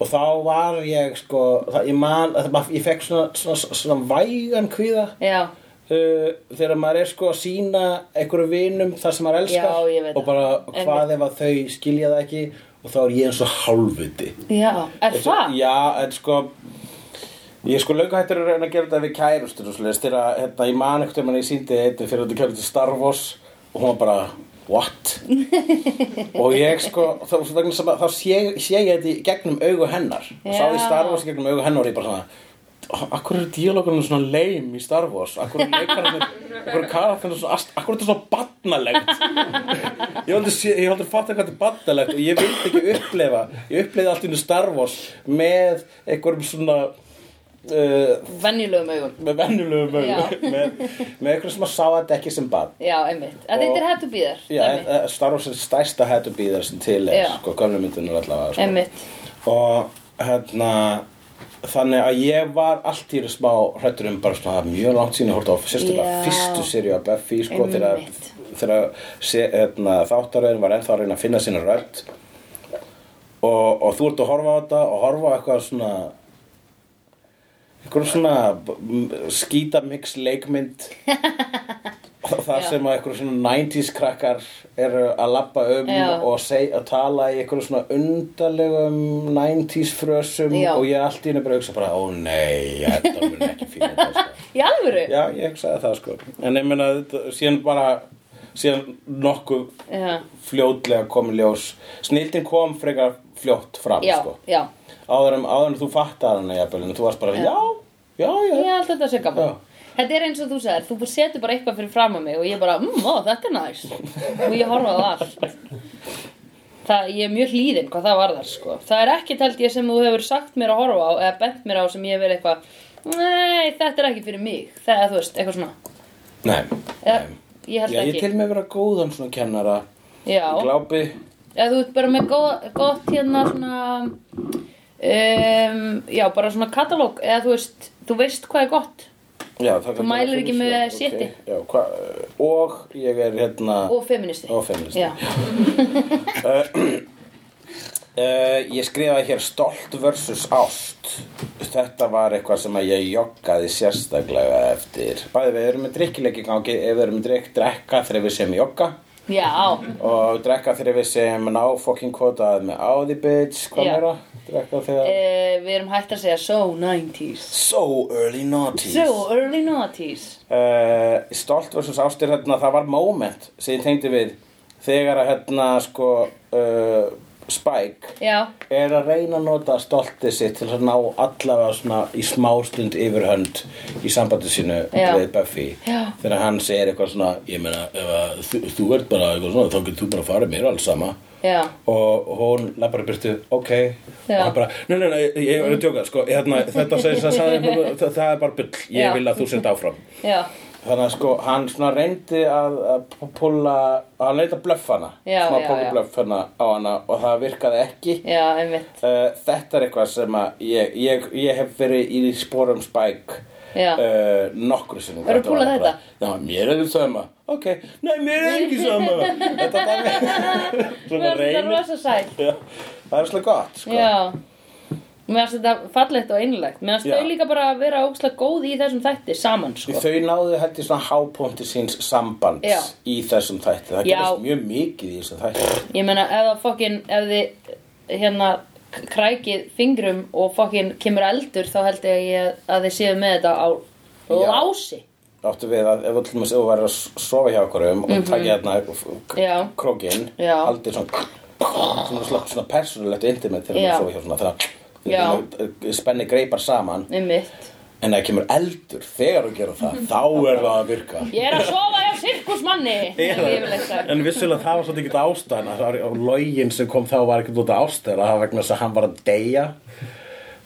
Og þá var ég sko það, Ég man, það, maður- ég fekk svona, svona, svona vægan kvíða
já,
uh, Þegar maður er sko að sína einhverju vinum þar sem maður elskar
Já, ég veit
Og bara
það.
hvað ef að þau skilja það ekki Og þá er ég eins og hálfviti
já, er
Þetta-
það?
Já, en sko Ég er sko löngu hættur að reyna að gera þetta við kærustur og svolítið þegar að, hérna, ég man ekkert um hann ég síndi þetta fyrir þetta kærustur Star Wars og hún var bara, what? og ég sko, þá, vegna sem að þá sé, sé ég þetta í gegnum augu hennar og sá því
Já.
Star Wars í gegnum augu hennar og ég bara svona Akkur eru díalógunum svona leim í Star Wars? Akkur eru leikararnir, akkur eru karakterinu svona, ast- akkur eru þetta svona batnalegt? Ég heldur, ég heldur fatta hvað þetta er bandalegt og ég vildi ekki upplefa ég uppleiði allt í einu Star Wars með einhverjum svona uh,
Venjulegum augun
með venjulegum
Já.
augum, með, með einhverjum sem að sá þetta ekki sem bad
Já, einmitt, að þetta er hættu býðar
Já, eh, Star Wars er stærsta hættu býðar sem til er,
Já.
sko, gömlu myndunar allavega sko.
einmitt
og hérna þannig að ég var allt í þessu smá hrættur um bara svona mjög langt síðan ég horfði á sérstaklega
Já.
fyrstu serju af Buffy sko þegar,
Einmitt.
þegar se, hérna, þáttaröðin var ennþá að reyna að finna sína rödd og, og þú ert að horfa á þetta og horfa á eitthvað svona einhverjum svona skítamix leikmynd og þar
Já.
sem að einhverjum svona 90s krakkar eru að labba um
Já.
og seg, að tala í einhverjum svona undarlegum 90s frösum
Já.
og ég allt í henni bara hugsa bara ó nei, þetta mun ekki fíla þetta sko.
Í alvöru?
já, ég hugsaði það sko en ég meina, þetta- síðan bara síðan nokkuð
Já,
fljótlega komið ljós snildin kom frekar fljótt fram
já,
sko
já
áður en, áður en þú fattar hana jafnvel en þú varst bara já, já, já,
Ég held þetta sé gaman
Já.
Þetta er eins og þú sagðir, þú setur bara eitthvað fyrir fram að mig og ég bara, mmm, ó, þetta er næs og ég horfa á allt sko. Það, ég er mjög hlýðin hvað það varðar, sko Það er ekki tælt ég sem þú hefur sagt mér að horfa á eða bent mér á sem ég hef verið eitthvað Nei, þetta er ekki fyrir mig Það er, þú veist, eitthvað svona
Nei,
eða,
nei.
Ég held
Já, ég
ekki
til mig að vera góðan svona kennara
Já,
Glápi
eða þú ert bara með góð, gott hérna svona um, já, bara svona katalóg eða þú veist, þú veist hvað er gott
Já, það
Þú mælir ekki með sétti.
Já, hva, og ég er hérna
og feministi
og feminist
já,
uh, Ég skrifaði hér stolt versus ást Þetta var eitthvað sem að ég joggaði sérstaklega eftir Bæði við erum með drikkileiki gangi ef við erum með drikk, drekka þegar við sem jogga
já,
og drekka þegar við sem ná fucking kvotað með áði bitch, hvað
Já.
meira? Drekka þegar
uh, við erum hægt að segja so 90s
So early noughties
so early 90s
uh, stolt versus ástir hérna, það var moment sem ég tengdi við þegar að hérna sko uh, Spike
já,
er að reyna að nota stoltið sitt til að ná allavega svona í smástund yfirhönd í sambandi sínu
Já.
við Buffy
Já.
þegar hann segir eitthvað svona ég meina, ef að þú, þú ert bara eitthvað svona þá getur þú bara að fara mér alls sama
já,
og hún lappar í byrtu ok, og
Já.
hann bara nei, nei, nei, ég ég er að djóka, sko, hérna, þetta segir það, það, það, það er bara bull, ég
Já.
vil að þú senda áfram
já,
Þannig að sko, hann svona reyndi að, að pulla, að leita blöff hana
Já,
Smá
já, já.
blöff hana á hana og það virkaði ekki
já, einmitt
uh, Þetta er eitthvað sem að ég, ég, ég hef verið í spórum spæk
Já.
uh, nokkru sinnum
Hefurðu púlað
var bara,
þetta?
Já, mér er þið sama Ok, nei, mér er ekki sama Þetta dæmi Svona
það er
reynir
rosa sæl
Já, Það er svolítið gott, sko
já Mér finnst þetta fallegt og einlægt. Mér finnst
Já.
þau líka bara að vera ógslag góð í þessum þætti saman, sko.
Þau náðu held ég svona hápunkti síns sambands
Já.
í þessum þætti Það
Já.
gerist mjög mikið í þessum þætti
Ég meina ef það fokkin, ef þið hérna k- krækið fingrum og fokkin kemur eldur þá held ég að, ég að þið séu með þetta á
Já.
lási.
áttu við að ef allir maður var að sofa hjá okkur um og takja hérna
Mhm. Já.
k- krókinn
Já.
haldið svona svona, svona, svona persónulegt intimate þegar
Já.
maður sofa hjá svona
Já.
þannig að spenni eh, greipar saman
Um mitt.
en það kemur eldur þegar þú gerir það þá er það að virka
Ég er að sofa hjá sirkusmanni. er yfirleitt sagt.
en vissulega það var svolítið ekkert ástæðan það var- og lögin sem kom þá var ekkert út af ástæðan það var vegna þess að hann var að deyja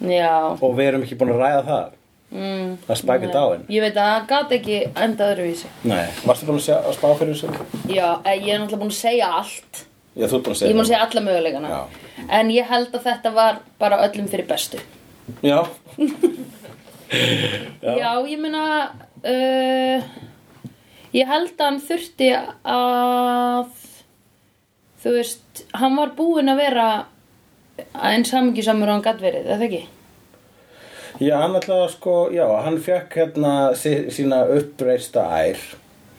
Já.
og við erum ekki búin að ræða það mm, það spækir dáin
Ég veit að það gat ekki enda öðruvísi.
Nei, varstu búin að, sjá, að spá fyrir þessu?
Já, eh, ég er náttúrulega búin að segja allt.
Já, þú er búin að
Ég
segja
er búin að segja alla möguleikana.
Já.
En ég held að þetta var bara öllum fyrir bestu.
Já,
Já, ég meina uh, ég held að hann þurfti að þú veist, hann var búinn að vera eins hamingjusamur og hann gatt verið, eða ekki?
Já, hann alltaf sko, já, hann fekk hérna sí- sína uppreista ær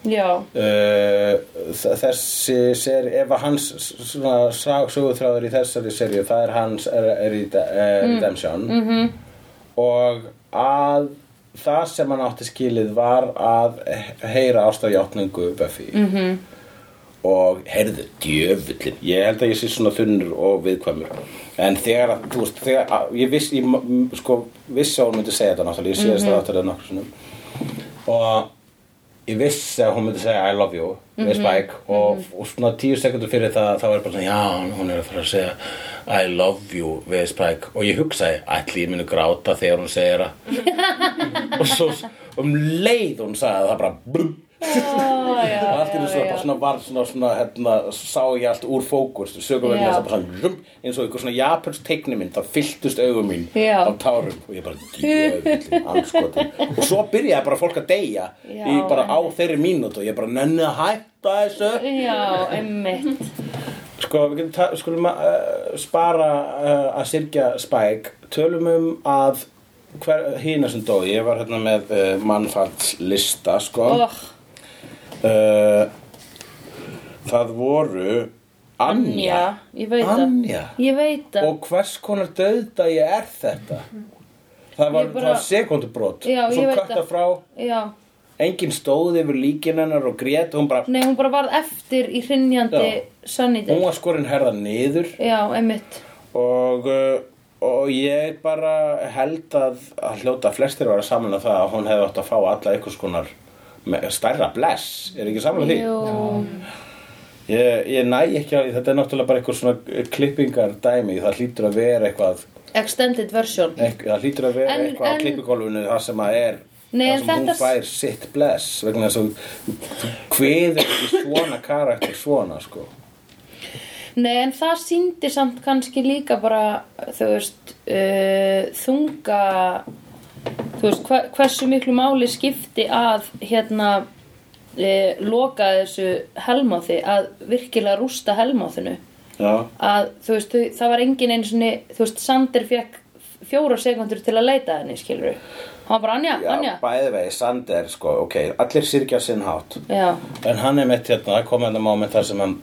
Já,
uh, þ- þessi seri, ef að hans s- svona sögutráður í þessari serju, það er hans er, er í de, er Redemption -hmm. og að það sem hann átti skilið var að he- heyra ástafjátningu Buffy -hmm. og heyrðu, djöfullin ég held að ég sé svona þunnur og viðkvæmur en þegar að, þú veist þegar að, ég viss, ég, m- m- sko, vissi að hún myndi segja þetta náttúrulega, ég sé þess að þetta er nokkur sinnum og ég vissi að hún myndi segja I love you við Spike og, og svona tíu sekundur fyrir það þá er bara svona já hún er að fara að segja I love you við Spike og ég hugsaði ætli ég myndi gráta þegar hún segir það og svo um leið hún sagði það bara brum
Ó, já,
og allt í þessu
já,
bara svona var svona, svona hérna, sá ég allt úr fókus sögum við
Já.
þess að bara svona rum, eins og einhver svona japansk teiknimynd þá fylltust augum mín
Já.
af tárum og ég bara djöfulli, andskotin og svo byrjaði bara fólk að deyja
Já.
í bara á þeirri mínútu og ég bara nenni að hætta þessu
já, já, einmitt
sko við getum ta- skulum að uh, spara uh, að syrkja spæk tölum um að hver, hína sem dói, ég var hérna með uh, mannfallslista sko
oh,
Eh, Það voru
Anja,
Anja
ég veit það
Anja.
Ég veit það
Og hvers konar döðdagi er þetta? Það var,
Ég bara-
bara... var sekundubrót
Já, ég
Svo
veit
katta
það.
frá
Já,
Engin stóð yfir líkin hennar og grét Hún, bara,
nei, hún bara varð eftir í hrinnjandi
Já.
Sunnydale
hún var skorinn herða niður
Já, einmitt
Og, eh, og ég bara held að, að hljóta flestir var að samla það að hún hefði átt að fá alla einhvers konar me- stærra bless, er ekki samla því?
Jú,
Ég, ég næ ekki að, þetta er náttúrulega bara eitthvað svona eh, klippingar dæmi, það hlýtur að vera eitthvað,
extended version
eitthvað það hlýtur að vera
En-
eitthvað
en-
á klippigólfinu það sem að er,
Nei, en
það sem hún
þetta-
fær sitt bless, vegna þess að þú- þú kveður ekki svona karakter svona, sko.
Nei, en það síndi samt kannski líka bara, þú veist, uh, þunga, þú veist, hva, hversu miklu máli skipti að, hérna, uh, loka þessu helmáði, að virkilega rústa helmáðinu.
Já,
Að, þú veist, þau- það var engin einu svona, þú veist, Sander fekk fjóra sekundur til að leita að henni, skilur við. Hann var bara, Anja,
já
Anja.
bæði vegi, Sander sko, ok, allir syrgja sinn hátt
Já,
En hann er mitt hérna, það kom hérna moment þar sem hann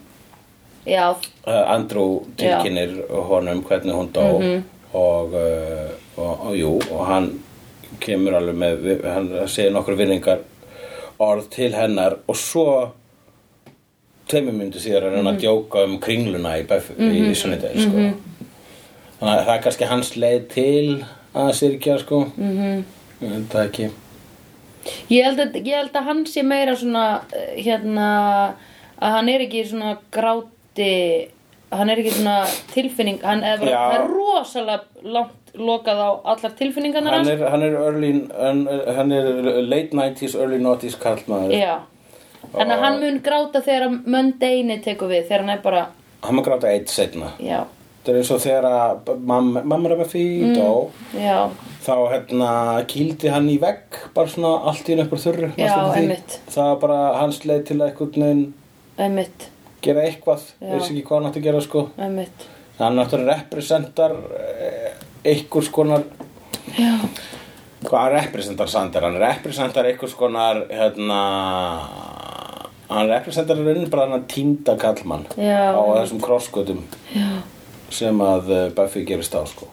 já,
uh, Andrew tilkynir honum hvernig hún dó og, uh, og, og jú og hann kemur alveg með við- hann segir nokkur vinningar orð til hennar og svo tveimur myndu síðar er hann að djóka um kringluna í, bæf, í sunnudegi sko. þannig að það er kannski hans leið til að syrkja sko mm -hmm. það ekki
Ég held, að, ég held að hann sé meira svona eh, hérna að hann er ekki svona gráti hann er ekki svona tilfinning hann er,
Já.
það er rosalega langt lokað á allar tilfinningarnar
hann
hans.
er, hann er early hann er, hann er late 90s early 90s karlmaður
Já Þannig að hann mun gráta þegar möndeini tekur við þegar hann er bara
hann maður gráta eitt setna
já,
Það er eins og þegar að mamma, mamma Rebbe Fee
Mm.
dó
já,
þá hérna kýldi hann í vegg bara svona allt í einu upp úr þurru
Já,
næstum því.
einmitt.
það var bara hans leið til að einhvern veginn
einmitt
gera eitthvað
Já.
veist ekki hvað hann átti að gera sko
einmitt
hann náttúrulega representar eh, einhvers konar
Já,
hvað hann representar Sander hann representar einhvers konar hérna hann representar raunin bara hann týnda kallmann
Já,
á
einmitt.
þessum krossgötum sem að eh, Buffy gerist á sko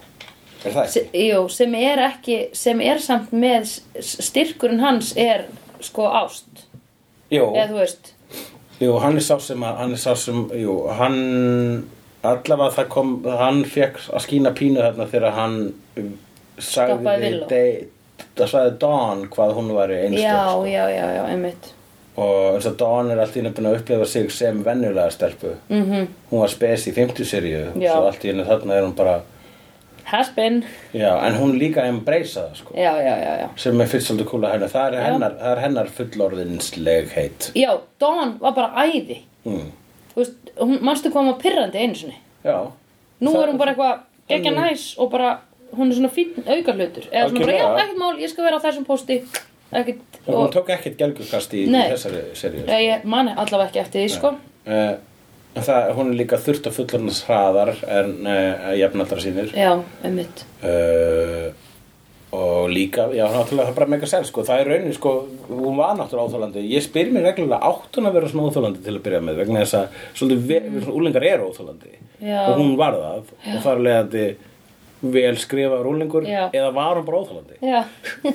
er það
Se,
ekki?
jú, sem er ekki sem er samt með s- s- styrkurinn hans er sko ást
Jú,
eða þú veist
jú, hann er sá sem að, hann er sá sem, jú, hann allavega það kom, hann fekk að skína pínu þarna þegar hann um, sagði
Stoppaði Willow.
de- það sagði Dawn hvað hún var
já,
einstök
já, já, já, einmitt
og eins og Dawn er allt í einu búin að upplifa sig sem venjulega stelpu -hmm. hún var spes í 50 seríu
Mhm. Já.
svo allt í einu þarna er hún bara
Has been
já, en hún líka embracea það sko
Já, já, já, já
sem er fyrst svolítið kúla hennar það er hennar, það er hennar fullorðinslegheit
Já, Dawn var bara æði
mm.
Þú veist, hún, manstu hvað hún var pyrrandi einu sinni
já
Nú
Það- Mm.
er hún bara eitthvað geggja
Alveg.
næs og bara hún er svona fínn auka hlutur Eða svona bara, já,
Algjörlega.
ekkert mál, ég skal vera á þessum posti Ekkert
Og hún tók ekkert gelgjurkast í, í
Nei.
þessari seríu. sko.
Já, ég mani allavega ekki eftir því, sko
Uh, það, hún er líka þurft á fullorðnars hraðar en uh, jafnaldra sínir.
Já, einmitt
Uh, og líka, já, náttúrulega það er bara mega sér, sko. Það er raunin, sko, hún var náttúrulega óþólandi. Ég spyr mér reglulega átt hún að vera svona óþólandi til að byrja með vegna þess að svolítið ve- svona úlingar eru óþólandi.
Mm. Já.
Og hún var það og þar leðandi vel skrifaður úlingur
Já.
eða var hún bara óþólandi.
Já,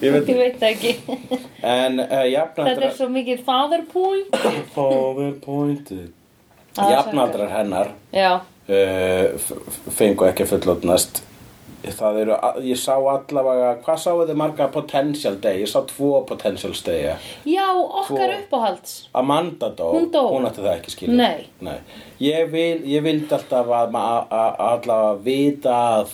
Ég veit-
ég veit það ekki
En uh,
Þetta
jafnaldra...
er svo mikið father point
Father pointed.
Ah,
Jafnaldrar hennar
Já,
uh, f- f- fengu ekki að fullotnast það eru, a- ég sá allavega hvað sáu þið marga potential day ég sá tvo potential day
já okkar
Svo-
uppáhalds
Amanda dó,
Hún dó.
átti það ekki skilja
Nei.
Ég, vil, ég vildi alltaf að ma- a- a- allavega vita að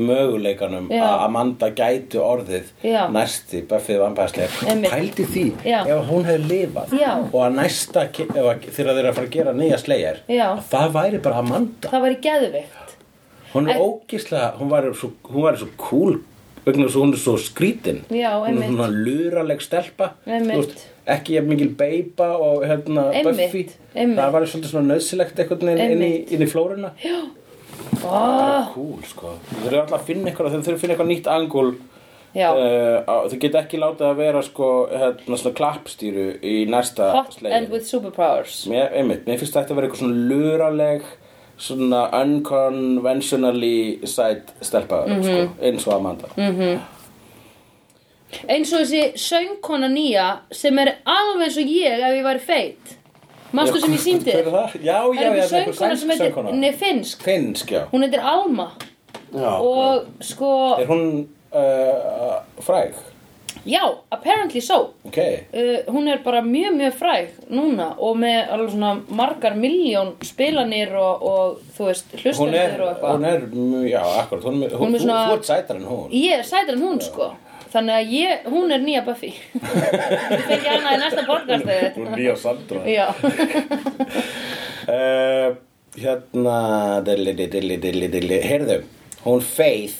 möguleikanum
Já.
að Amanda gæti orðið
Já.
næsti Buffy vampærslega
Einmitt.
pældi því
Já.
ef hún hefði lifað
Já.
og að næsta ke- ef að- þegar þeir eru að fara að gera nýja slegjar
Já.
að það væri bara Amanda
Það var í geðveikt
Hún er
En-
ógislega, hún var svo, hún var svo cool vegna þess að hún er svo skrítin
Já,
Hún er
einmitt.
svona luraleg stelpa
Einmitt.
Þú ekki jafn mikil beiba og hérna
Einmitt,
Buffy
einmitt.
Það var svolítið svona nöðsilegt einhvern veginn inn í,
Einmitt.
inn í flóruna Já
oh,
Cool, sko Þau þurfum alltaf að finna eitthvað, þau þurfum að finna eitthvað nýtt angul
Já,
Uh, á- þau geta ekki látið að vera sko hérna svona klappstýru í næsta
hot
slegin
and with superpowers
Mér, einmitt, mér finnst þetta að vera eitthvað svona luraleg svona unconventionally side stelpa sko, eins og Amanda
eins og þessi söngkona nýja sem er alveg eins og ég ef ég væri feit Mastu sem ég síndi
Hver er
þér?
það? Já,
Það er
já, já,
einhver
þetta er einhver
söngkona
sænsk
sem heitir,
söngkona.
nei finnsk
Finnsk, já,
Hún heitir Alma
já
og sko,
Er hún uh, fræg?
já, apparently so
Ok,
uh, Hún er bara mjög mjög fræg núna og með alveg svona margar miljón spilanir og, og þú veist,
hún er,
hlustendur og
hún
eitthvað
er, mjög- já, akkurat, hún, er-
Hún
hún,
er svona-
þú ert sætar en hún
Ég er sætar en hún sko Þannig að ég, hún er nýja Buffy Ég fengi hana í næsta podcast eða-
Hún er nýja sandra
Já,
uh, hérna dilli, dilli, dilli, dilli, heyrðu hún Faith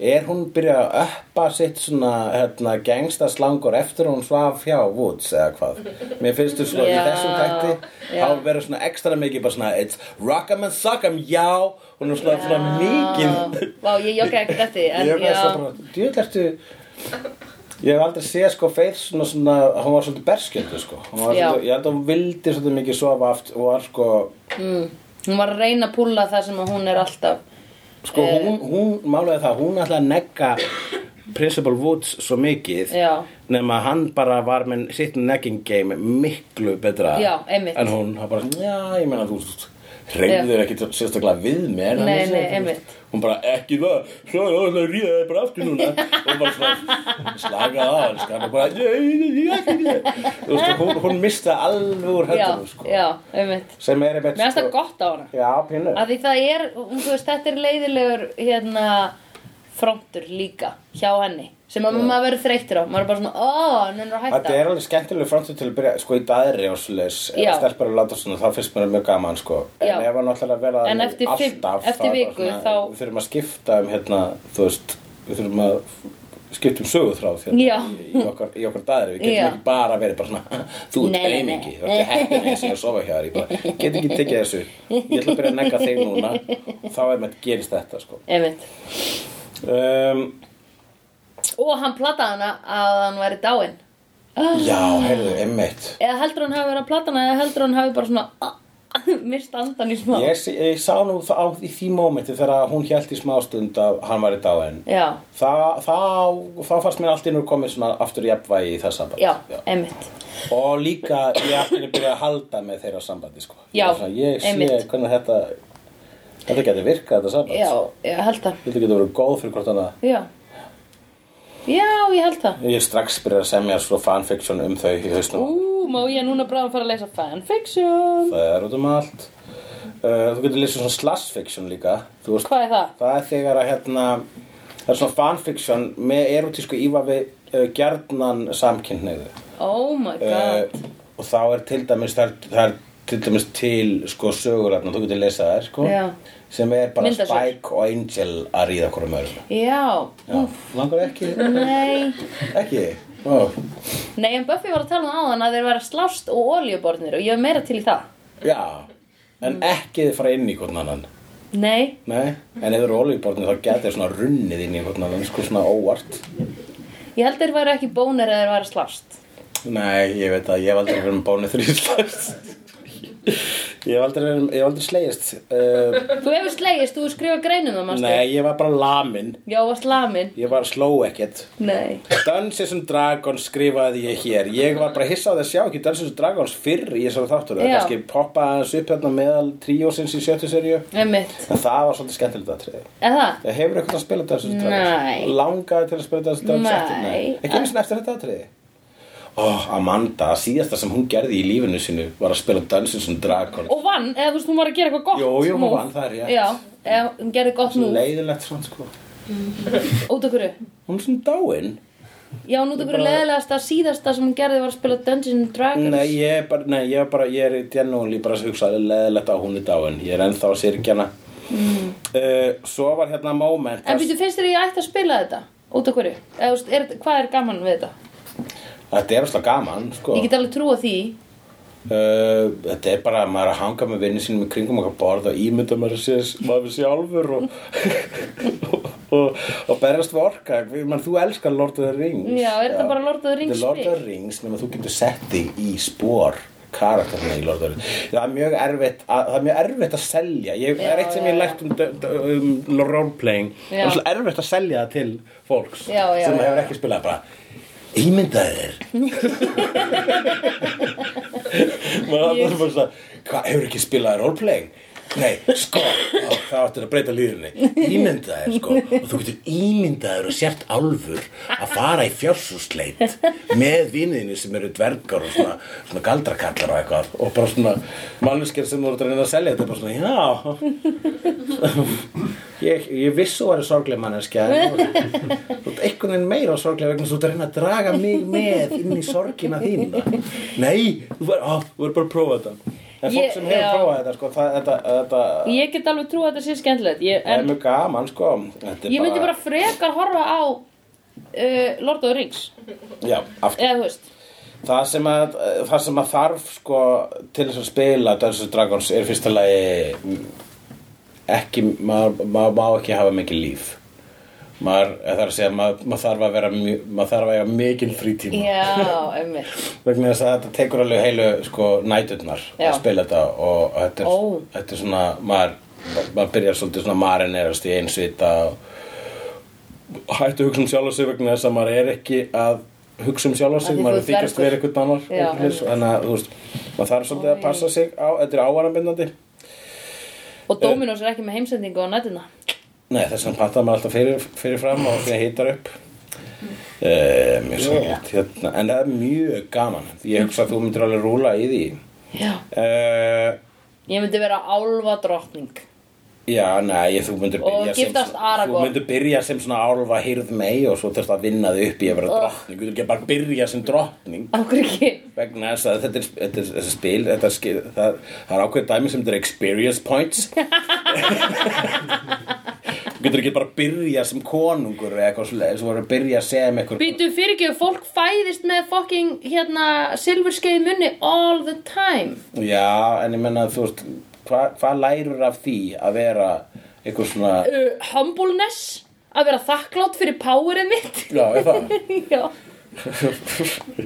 er hún byrjað að öppa sitt svona hérna, gengstaslangur eftir hún svaf hjá Woods eða hvað mér finnst þú svona
Já,
í þessum tækti
já.
þá verður svona ekstra mikið bara svona it's rock'em and sock'em, já hún er svona, svona mikið
Ah, Vá, ég jogga ekkert eftir því,
ég
en
var
já,
svo bara, djöðl ertu ég hef aldrei séð sko Faith svona svona, hún var svolítið berskjöldu sko Hún var
Já.
svolítið, ég held að hún vildi svolítið mikið sofa aftur og var sko
hún var að reyna að púlla það sem að hún er alltaf
Sko
Eh,
hún, hún málaði það, hún ætlaði að negga Principal Woods svo mikið
Já.
nema hann bara var með sitt negging game miklu betra
Já, einmitt.
en hún var bara, já, ég meina þú reyður ekki sérstaklega við mér
Nei,
þannig að-
nei, einmitt.
hún bara, ekki það, svo ég ætla að ríða þig bara aftur núna og bara svona, slaka það elskan, og bara, ég, ég, ég, ekki það Þú veist, hún, hún misti það alveg úr
Já,
höndunum sko.
já, einmitt
sem er einmitt sko-
Mér finnst það gott á hana
já, pínu
að því það er, um, þú veist, þetta er leiðilegur hérna frontur líka hjá henni sem að maður verður þreyttur á, maður er bara svona ó, hann er að
Þetta
hætta
er alveg skemmtileg framtíð til að byrja sko í daðri og svoleiðis
Já.
eða eh, stelpur að láta svona, þá finnst mér mjög gaman sko en
Já.
ef hann ætlar að
En
vera þannig
eftir fimm-
alltaf,
eftir
þá er bara
viku, þá-
við þurfum að skipta um hérna, þú veist við þurfum að skipta um söguþráð
Já.
hérna, í, okkar, í okkar daðri, við getum
Já.
ekki bara verið bara svona,
Nei,
þú ert
nei,
greimingi
nei.
þú ert heppin eins og að sofa hjá þér ég bara, get ekki tekið þessu ég ætla að byrja að negga þig núna og þá er með gerist þetta sko
einmitt
um,
og hann plattaði hana að hann væri dáinn
Já, heyrðu, emmitt
eða heldur hann hafi verið að platta hana eða heldur hann hafi bara svona "Ah, ah", mist andan í smá
Ég, sé- ég sá nú það á, í því mómenti þegar hún held í smástund að hann var í dáin.
já,
Þa, þá, þá fannst mér allt innur komið svona aftur jafnvægi í það samband.
já, einmitt
Og líka ég aftur að byrja að halda með þeirra sambandi sko.
Já,
Ég er svona, Ég sé
einmitt.
hvernig þetta, þetta getur virkað þetta samband.
já, ég held það
Þetta getur verið góð fyrir hvort annað.
já, já, ég held það
Ég er strax byrjað að semja svo fanfiction um þau í hausnum.
ú, má ég núna bráðum fara að lesa fanfiction
Það er út um allt. Uh, þú getur lesið svona slash fiction líka. Þú veist,
hvað er það?
Það er þegar að hérna Það er svona fanfiction með erotísku íva við uh, gjarnan samkynniðu
oh my god
uh, og þá er til dæmis það er, það er til dæmis til sko sögulegna, þú getur lesað þær sko
Já.
sem er bara
Myndasögur.
Spike og Angel að ríða okkur um öðrum
já,
Já, langar ekki,
nei
ekki Ó.
Nei, en Buffy var að tala um áðan að þeir væri að slást og oljubornir og ég er meira til í það.
Já, en ekki þið fara inn í hvort annan
Nei,
Nei, en ef þið eru olíuborðinu þá getur þið svona runnið inn í hvort annan sko svona óvart
ég held þeir væri ekki bónir að þeir væri að slást.
Nei, ég veit að ég hef aldrei verið með bónu þrýslast Ég hef aldrei, verið- ég hef aldrei slegist uh,
Þú hefur slegist, þú hefur skrifað greinum það, mannstu?
Nei, ég var bara lamin
Já, að slamin.
Ég var sló ekkert
Nei.
Dances and Dragons skrifaði ég hér Ég var bara hissað að sjá ekki Dances and Dragons fyrr í þessari þáttur Það
Já.
kannski poppa aðeins upp hérna meðal tríósins í sjöttu seríu
Emmitt.
En það var svolítið skemmtilegt aðtriði
Eða það?
Það hefur eitthvað að spila Dungeons and
Nei.
Dragons Langaði til að spila Dungeons and Dragons
Nei.
eftir Nei Ekki einu sinni eftir þetta atriði Ó, Amanda, síðasta sem hún gerði í lífinu sinu var að spila Dungeons and Dragons
Og vann, eða þú veist, hún var að gera eitthvað gott.
Jú, jú, hún
move.
vann, það er rétt.
Já, eða hún gerði gott nú.
Leiðilegt svona sko
Út af hverju?
Hún er svona dáin
Já, hún út af hverju
Bara-
leðilegasta síðasta sem hún gerði var að spila Dungeons and Dragons.
Nei, ég er bara, nei, ég er bara, ég er í djennúli bara að hugsa leiðilegt á hún er dáin Ég er ennþá að sirkjana mm. Svo var hérna moment
En býttu, finnst þér ég ætti að spila þetta? Út af hverju? Eða, þú veist, er, hvað er gaman við þetta?
Þetta er slag gaman sko
Ég get alveg trúa því.
Uh, þetta er bara að maður er að hanga með vinnin sínum í kringum okkar borð og ímynda maður sér, maður sjálfur og, og, og, og berjast við orka Man, þú elskar Lord of the Rings
Já, er þetta bara Lord of the Rings
Þetta er Lord of the Rings nema þú getur sett þig í spór karakterna í Lord of the Rings það er mjög erfitt að, það er mjög erfitt að selja ég,
Já,
það er eitt sem
já,
ég
já.
lært um, d- d- um roleplaying það
Já.
er svo erfitt að selja það til fólks
Já, já,
sem
já.
hefur ekki spilað bara ímyndaði þér maður yes. bara svona hvað, hefur ekki spilað roleplaying? Nei, sko, þá- þá áttir að breyta líðinni Ímyndaðir, sko Og þú getur ímyndaðir og sért álfur Að fara í fjársúsleit Með viniðinu sem eru dvergar Og svona, svona galdrakallar og eitthvað Og bara svona manneskir sem voru að reyna að selja Þetta er bara svona, já Ég, ég vissu að vera sorgleg manneskja en Þú þú ert einhvern veginn meira sorgleg Vegna þess að þú ert að reyna að draga mig með Inn í sorgina þína Nei, þú verður bara að prófa þetta En fólk
Ég-
sem hefur
já.
prófað þetta, sko, það, þetta, þetta,
Ég get alveg trú að þetta sé skemmtilegt ég,
það er
en
mjög gaman, sko. Þetta er
ég myndi bara frekar horfa á uh, Lord of the Rings
Já, aftur.
eða þú veist
Það sem að, það sem að þarf, sko, til þess að spila Dungeons and Dragons er í fyrsta lagi ekki, maður ma, má ekki hafa mikið líf. Maður, það er að segja, maður, maður þarf að vera, mjö- maður þarf að eiga mikinn frítíma.
Já, einmitt
vegna þess að þetta tekur alveg heilu sko, næturnar
Já.
að spila þetta og þetta er,
Ó.
þetta er svona maður, maður byrjar svolítið svona marinerast í einsvita og hættu að hugsa um sjálf sig vegna þess að maður er ekki að hugsa um sjálf
Af
sig,
því
maður
þú
er
ert
þykast
dvergur.
verið eitthvað annar
Já,
og svoleiðis. þannig að þú veist, maður þarf svolítið
Oj.
að passa sig á, þetta er ávarambindandi
Og Dominos er ekki með heimsendingu á nættina
Nei, þess vegna pantaði maður alltaf fyrir, fyrir fram og því að hýtar upp eh, mjög svolítið hérna. en það er mjög gaman ég hugsa að þú myndir alveg rúla í því
Já
eh,
Ég myndi vera álfa drottning
Já, nei, þú myndir
Og
byrja sem
giftast
svona- Þú
Aragorn.
myndir byrja sem svona álfa hýrð mei og svo þurft að vinna þig upp í að vera
Ugh.
drottning Þú myndir ekki bara byrja sem drottning
Af hverju ekki?
vegna þess að þetta er, þetta er, þetta er spil þetta er, skil- það, það er ákveð dæmi sem þetta er experience points Þú getur ekki bara byrja sem konungur eða eitthvað svoleiðis, þú voru að byrja sem eitthvað
Býtu fyrir ekki, fólk fæðist með fucking hérna silfurskeið í munni all the time
Já, en ég menna þú veist hva- hvað lærur af því að vera eitthvað svona
uh, Humbleness Að vera þakklátt fyrir powerið mitt
Já, er það?
Já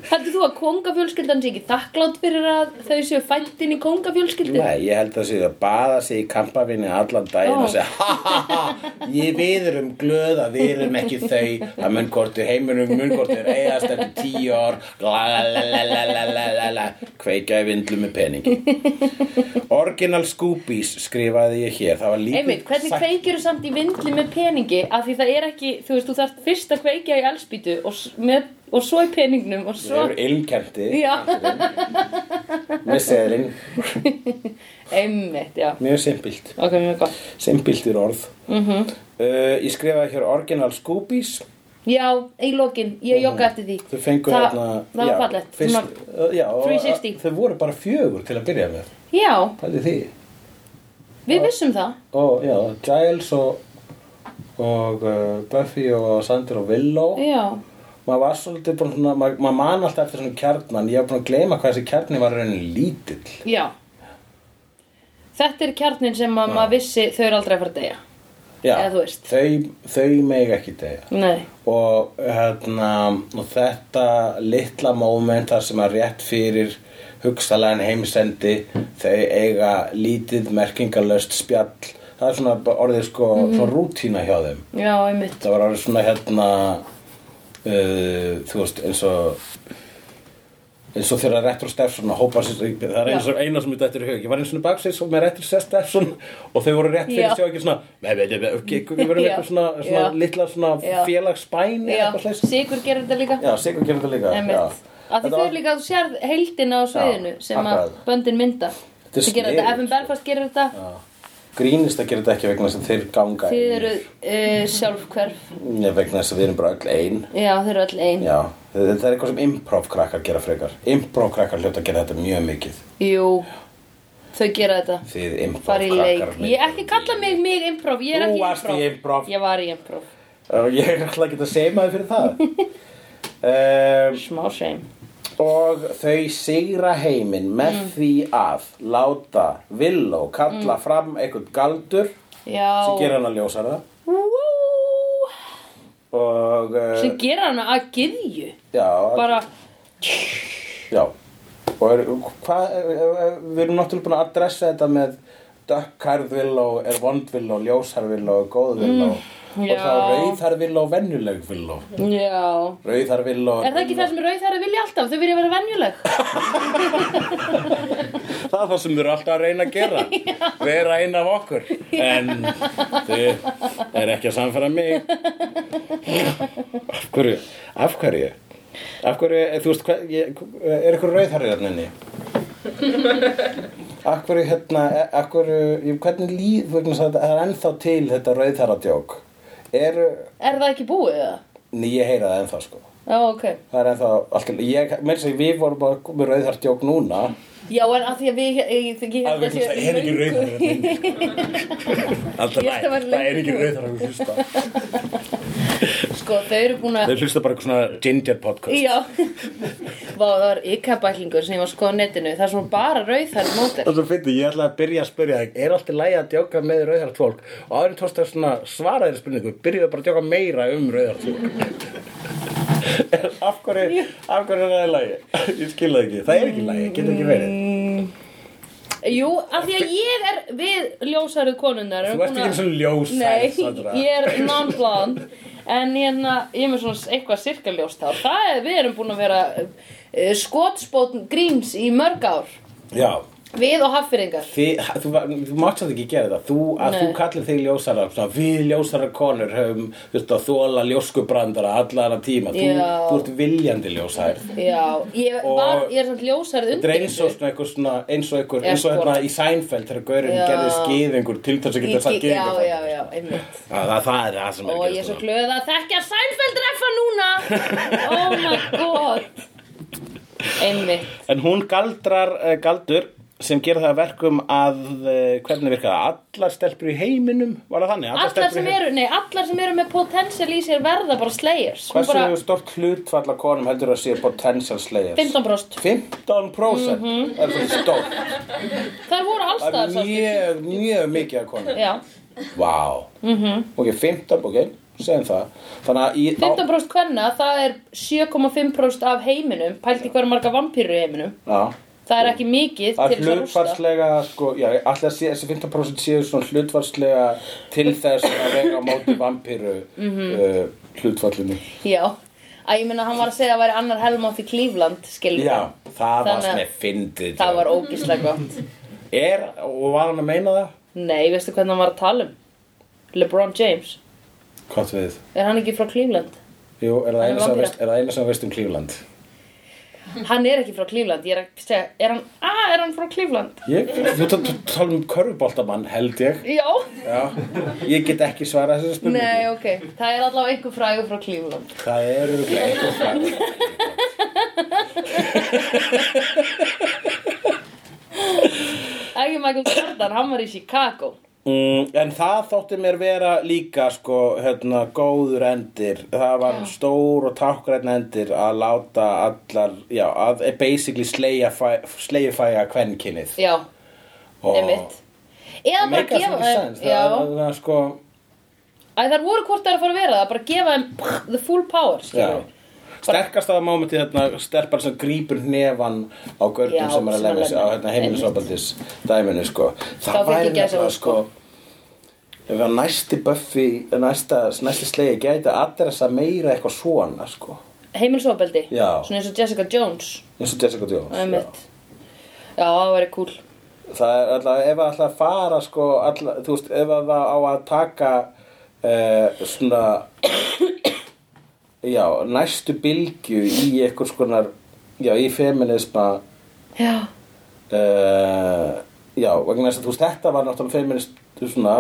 Hættu þú að kongafjölskyldan sé ekki þakklátt fyrir að þau séu fætt inn í kongafjölskyldu?
Nei, ég held að sé að baða sig í kampafinni allan daginn
Ó.
og segja ha ha ha, ég við erum glöð að við erum ekki þau að munnkortur heimurum, munnkortur eigast eftir tíu ár la la la la la la la la la kveika í vindlu með peningi Original Scoobies skrifaði ég hér, það var lítið
Einmitt, hvernig
sagt-
kveikir þú samt í vindli með peningi af því það er ekki, þú veist, þú þarf fyrst að kveikja í allspýtu og, s- með, og svo í peningnum og
Þeir
svo
eru ilmkendi
Já,
með seðlinn,
einmitt, já
mjög simpilt
Ok, mjög gott Mhm.
simpilt er orð uh, Ég skrifaði hér Original Scoobies
Já, í lokin, ég jogga eftir því
Mhm. Þau fengu
Það-
hérna
það var
já,
fallegt.
fyrst, uh, já, og
360.
að- Þau voru bara fjögur til að byrja með
Já,
Pæli því
við vissum það
Og já, Giles og, og uh, Buffy og Sander og Willow
Já,
Maður var svolítið búin svona Maður maður man alltaf eftir svona kjarnan Ég var búin að gleyma hvað þessi kjarni var raunin lítill
já Þetta er kjarnin sem að maður vissi þau eru aldrei að fara að deyja
Já,
Eða þú veist.
þau, þau meg ekki degja
Nei,
og, hérna, og þetta litla moment þar sem að rétt fyrir hugsalæðan heimsendi þau eiga lítið merkingalöst spjall það er svona bara orðið sko svona rútína hjá þeim
já, einmitt
það var orðið svona hérna uh, þú veist eins og eins og þegar Retro Steffson hópa sér, það er eins og eina sem þetta er í hug ég var eins og baksins og með Retro Steffson og þau voru rétt fyrir
Já.
sjá ekki svona með, með, með, ekki, við verum
Já.
eitthvað svona, svona
Já.
litla svona
Já.
félagsbæn eða
Já,
eitthvað slags
Sigur gerir þetta líka
já, Sigur gerir þetta líka já.
Einmitt. Af því
Þetta
þau
var-
eru líka að þú sérð heildina á sviðinu
Já,
sem að
akkurat.
böndin mynda
Þetta er
Þau gerir þetta,
sniðugt,
FM
sko.
Belfast gerir þetta
já. grínist að gera þetta ekki vegna þess að þeir ganga
Þið
einir.
eru uh, sjálfhverf
Nei, vegna þess að við erum bara öll ein
Já, þau eru öll ein
já, þetta er eitthvað sem improv krakkar gera frekar improv krakkar hljóta að gera þetta mjög mikið
Jú, þau gera þetta
Þið
fara í leik
improv-krakkar
ég ekki kalla mig mig improv, ég er
Þú
ekki
varst í improv.
ég var í improv,
Og Ég er alltaf ekki að segja maður fyrir það um,
smá shame
Og þau sigra heiminn með
Mm.
því að láta Villó kalla fram einhvern galdur
já,
sem gera hana ljósara
Woo!
og uh,
sem gera hana að gyðju
já,
bara,
já og er, hva, eh, við erum náttúrulega búin að adressa þetta með dökkhærð Villó, er vond Villó, ljósar Villó, góð Villó og
Mm. já.
þá rauðar Villó, venjuleg Villó
já
rauðar Villó
er það ekki það sem rauð þær að vilja alltaf, þau vilja vera venjuleg
Það er það sem þau eru alltaf að reyna að gera Vera einn af okkur En þau er ekki að samfæra mig Af hverju? Af hverju? Af hverju, eh, þú veist, hva, ég, er ykkur rauðharrið hérna inni? Af hverju, hérna, af hverju, ég- hvernig líð, vegna þess að það er ennþá til þetta rauðharradjók Er,
er það ekki búið það?
ný, ég heyra það ennþá, sko
já, ok
Það er ennþá, alltaf, ég, mér segi, við vorum bara með rauðharradjók núna
Já, en að því að við, ég, ég, ég, ég
Að vegna þess að það er ekki hérna rauðar
Ég held að
Það
vera
það er
löngu
ekki hérna,
búið.
rauðar að hlusta
Sko, þau eru búin að
Þau hlusta bara eitthvað svona ginger podcast
Já Vá, það var ykkabæklingur sem ég var að skoða á netinu Það er svona bara rauðhæri mótel
Og svo fyndi, ég ætlaði að byrja að spyrja þig Er alltaf lægi að djóka með rauðhært fólk Og áður tókst að svona svara þeirri spurningu Byrjuðu bara að djóka meira um rauðhært fólk Af hverju Af hverju er það í lægi? Ég skil það ekki, það er ekki í lægi, getur ekki verið
Jú, af því að ég er Við ljósaru konunnar
Þú ert ekki eins og ljósæð Sandra.
Nei, ég er non-blond En hérna, ég er með svona eitthvað sirkaljóst þá Það er, við erum búin að vera uh, Skotspótn gríns í mörg ár
Já,
Við og haffyrringar
Þi, þú, var- þú mátt samt ekki gera það þú, að
Nei.
þú kallir þig ljósara svona, við ljósara konur höfum þurft að þóla ljóskubrandara allara tíma þú,
Já.
þú ert viljandi ljósær
Já, ég, var,
Og-
ég er samt ljósarið
þetta er
undir
eins og svona, einhver svona eins og einhver,
Já,
eins og
sko.
hérna í Seinfeld þegar gaurinn
Já.
gerði skýðingur til þess að geta sagt
Já,
gýðingur
já, já, einmitt
það, það er það
Og
sem er
ég er
gerast
svo
núna.
glöð að þekkja Sænfeld reffa núna Oh my god Einmitt
En hún galdrar uh, galdur sem gera það að verkum að uh, hvernig virka það? Allar stelpur í heiminum, var það þannig?
Allar sem
í heiminum-
eru, nei, allar sem eru með potential í sér verða bara slayers Hún
Hversu
bara
stort hlutfall af konum heldur að sé potential slayers?
15%
15%
Mhm.
það er svolítið stórt
Þær voru
það
allstaðar
er
svo
mjög, mjög mikið að konu
Já,
vá,
Mhm.
ok, 15 ok, segjum það þannig að í, á,
15% hvenna, það er 7,5% af heiminum Pælti hverju marga vampýru í heiminum
á,
Það er ekki mikið
að
til þess að rústa
hlutfarslega sko, já, allir sé, þessi 15% séu svona hlutfarslega til þess að vega á móti vampíru
Mhm.
uh, hlutfallinu
Já, að ég meina hann var að segja að væri annar helmátt í Cleveland, skilur
já, það var
Þannig að-
svona fyndið sko.
Það var ógislega gott
er, og var hann að meina það?
Nei, veistu hvernig hann var að tala um? LeBron James
hvað við?
Er hann ekki frá Cleveland?
Jú, er
Hann
það
er
eina sem
vampíra.
veist- er það eina sem veist um Cleveland?
Hann er ekki frá Cleveland, ég er að segja Er hann, ah, er hann frá Cleveland?
Ég, þú t- t- tala um körfuboltamann held ég
Já
Já, ég get ekki svarað þessu spurningu
Nei, ok, það er allavega einhver frægur frá Cleveland
Það eru eitthvað frægur
Ekki Michael Jordan, hann var í Chicago
mm, En það þótti mér vera líka sko, hérna, góður endir Það var stór og tákgræn endir að láta allar já, að eh, basically slegja fæ- sleigjufæja kvenkinnið
Já,
Og-
einmitt Eða bara
Make us
gefa
make sense
Já,
Það er það sko
Æ, þær voru hvort þær að fara að vera það Bara gefa þeim pff, the full power,
Já
skilur
Sterkast aða mómenti þarna stelpar hérna, sem grípur nefann á
Já,
gördum sem
sem er
er að
að
lemja sig á
lemja.
hérna, heimilisofaldis dæminu sko
Þá
Það
fékk
væri
ég gæsahúð,
nefnilega sko ef að næsti buffi næsta, næsti slegi gæti aðdressa meira eitthvað svona sko
Heimilsofbeldi,
Já.
svona eins og Jessica Jones
eins og Jessica
Einmitt
Jones
Já, það væri cool
Já. Það er alltaf ef að alltaf fara sko alltaf, þú veist ef að það á að taka uh, svona já næstu bylgju í eitthvað skonar já í feminisma
Já,
uh, já, vegna þess að þú veist þetta var náttúrulega feminist svona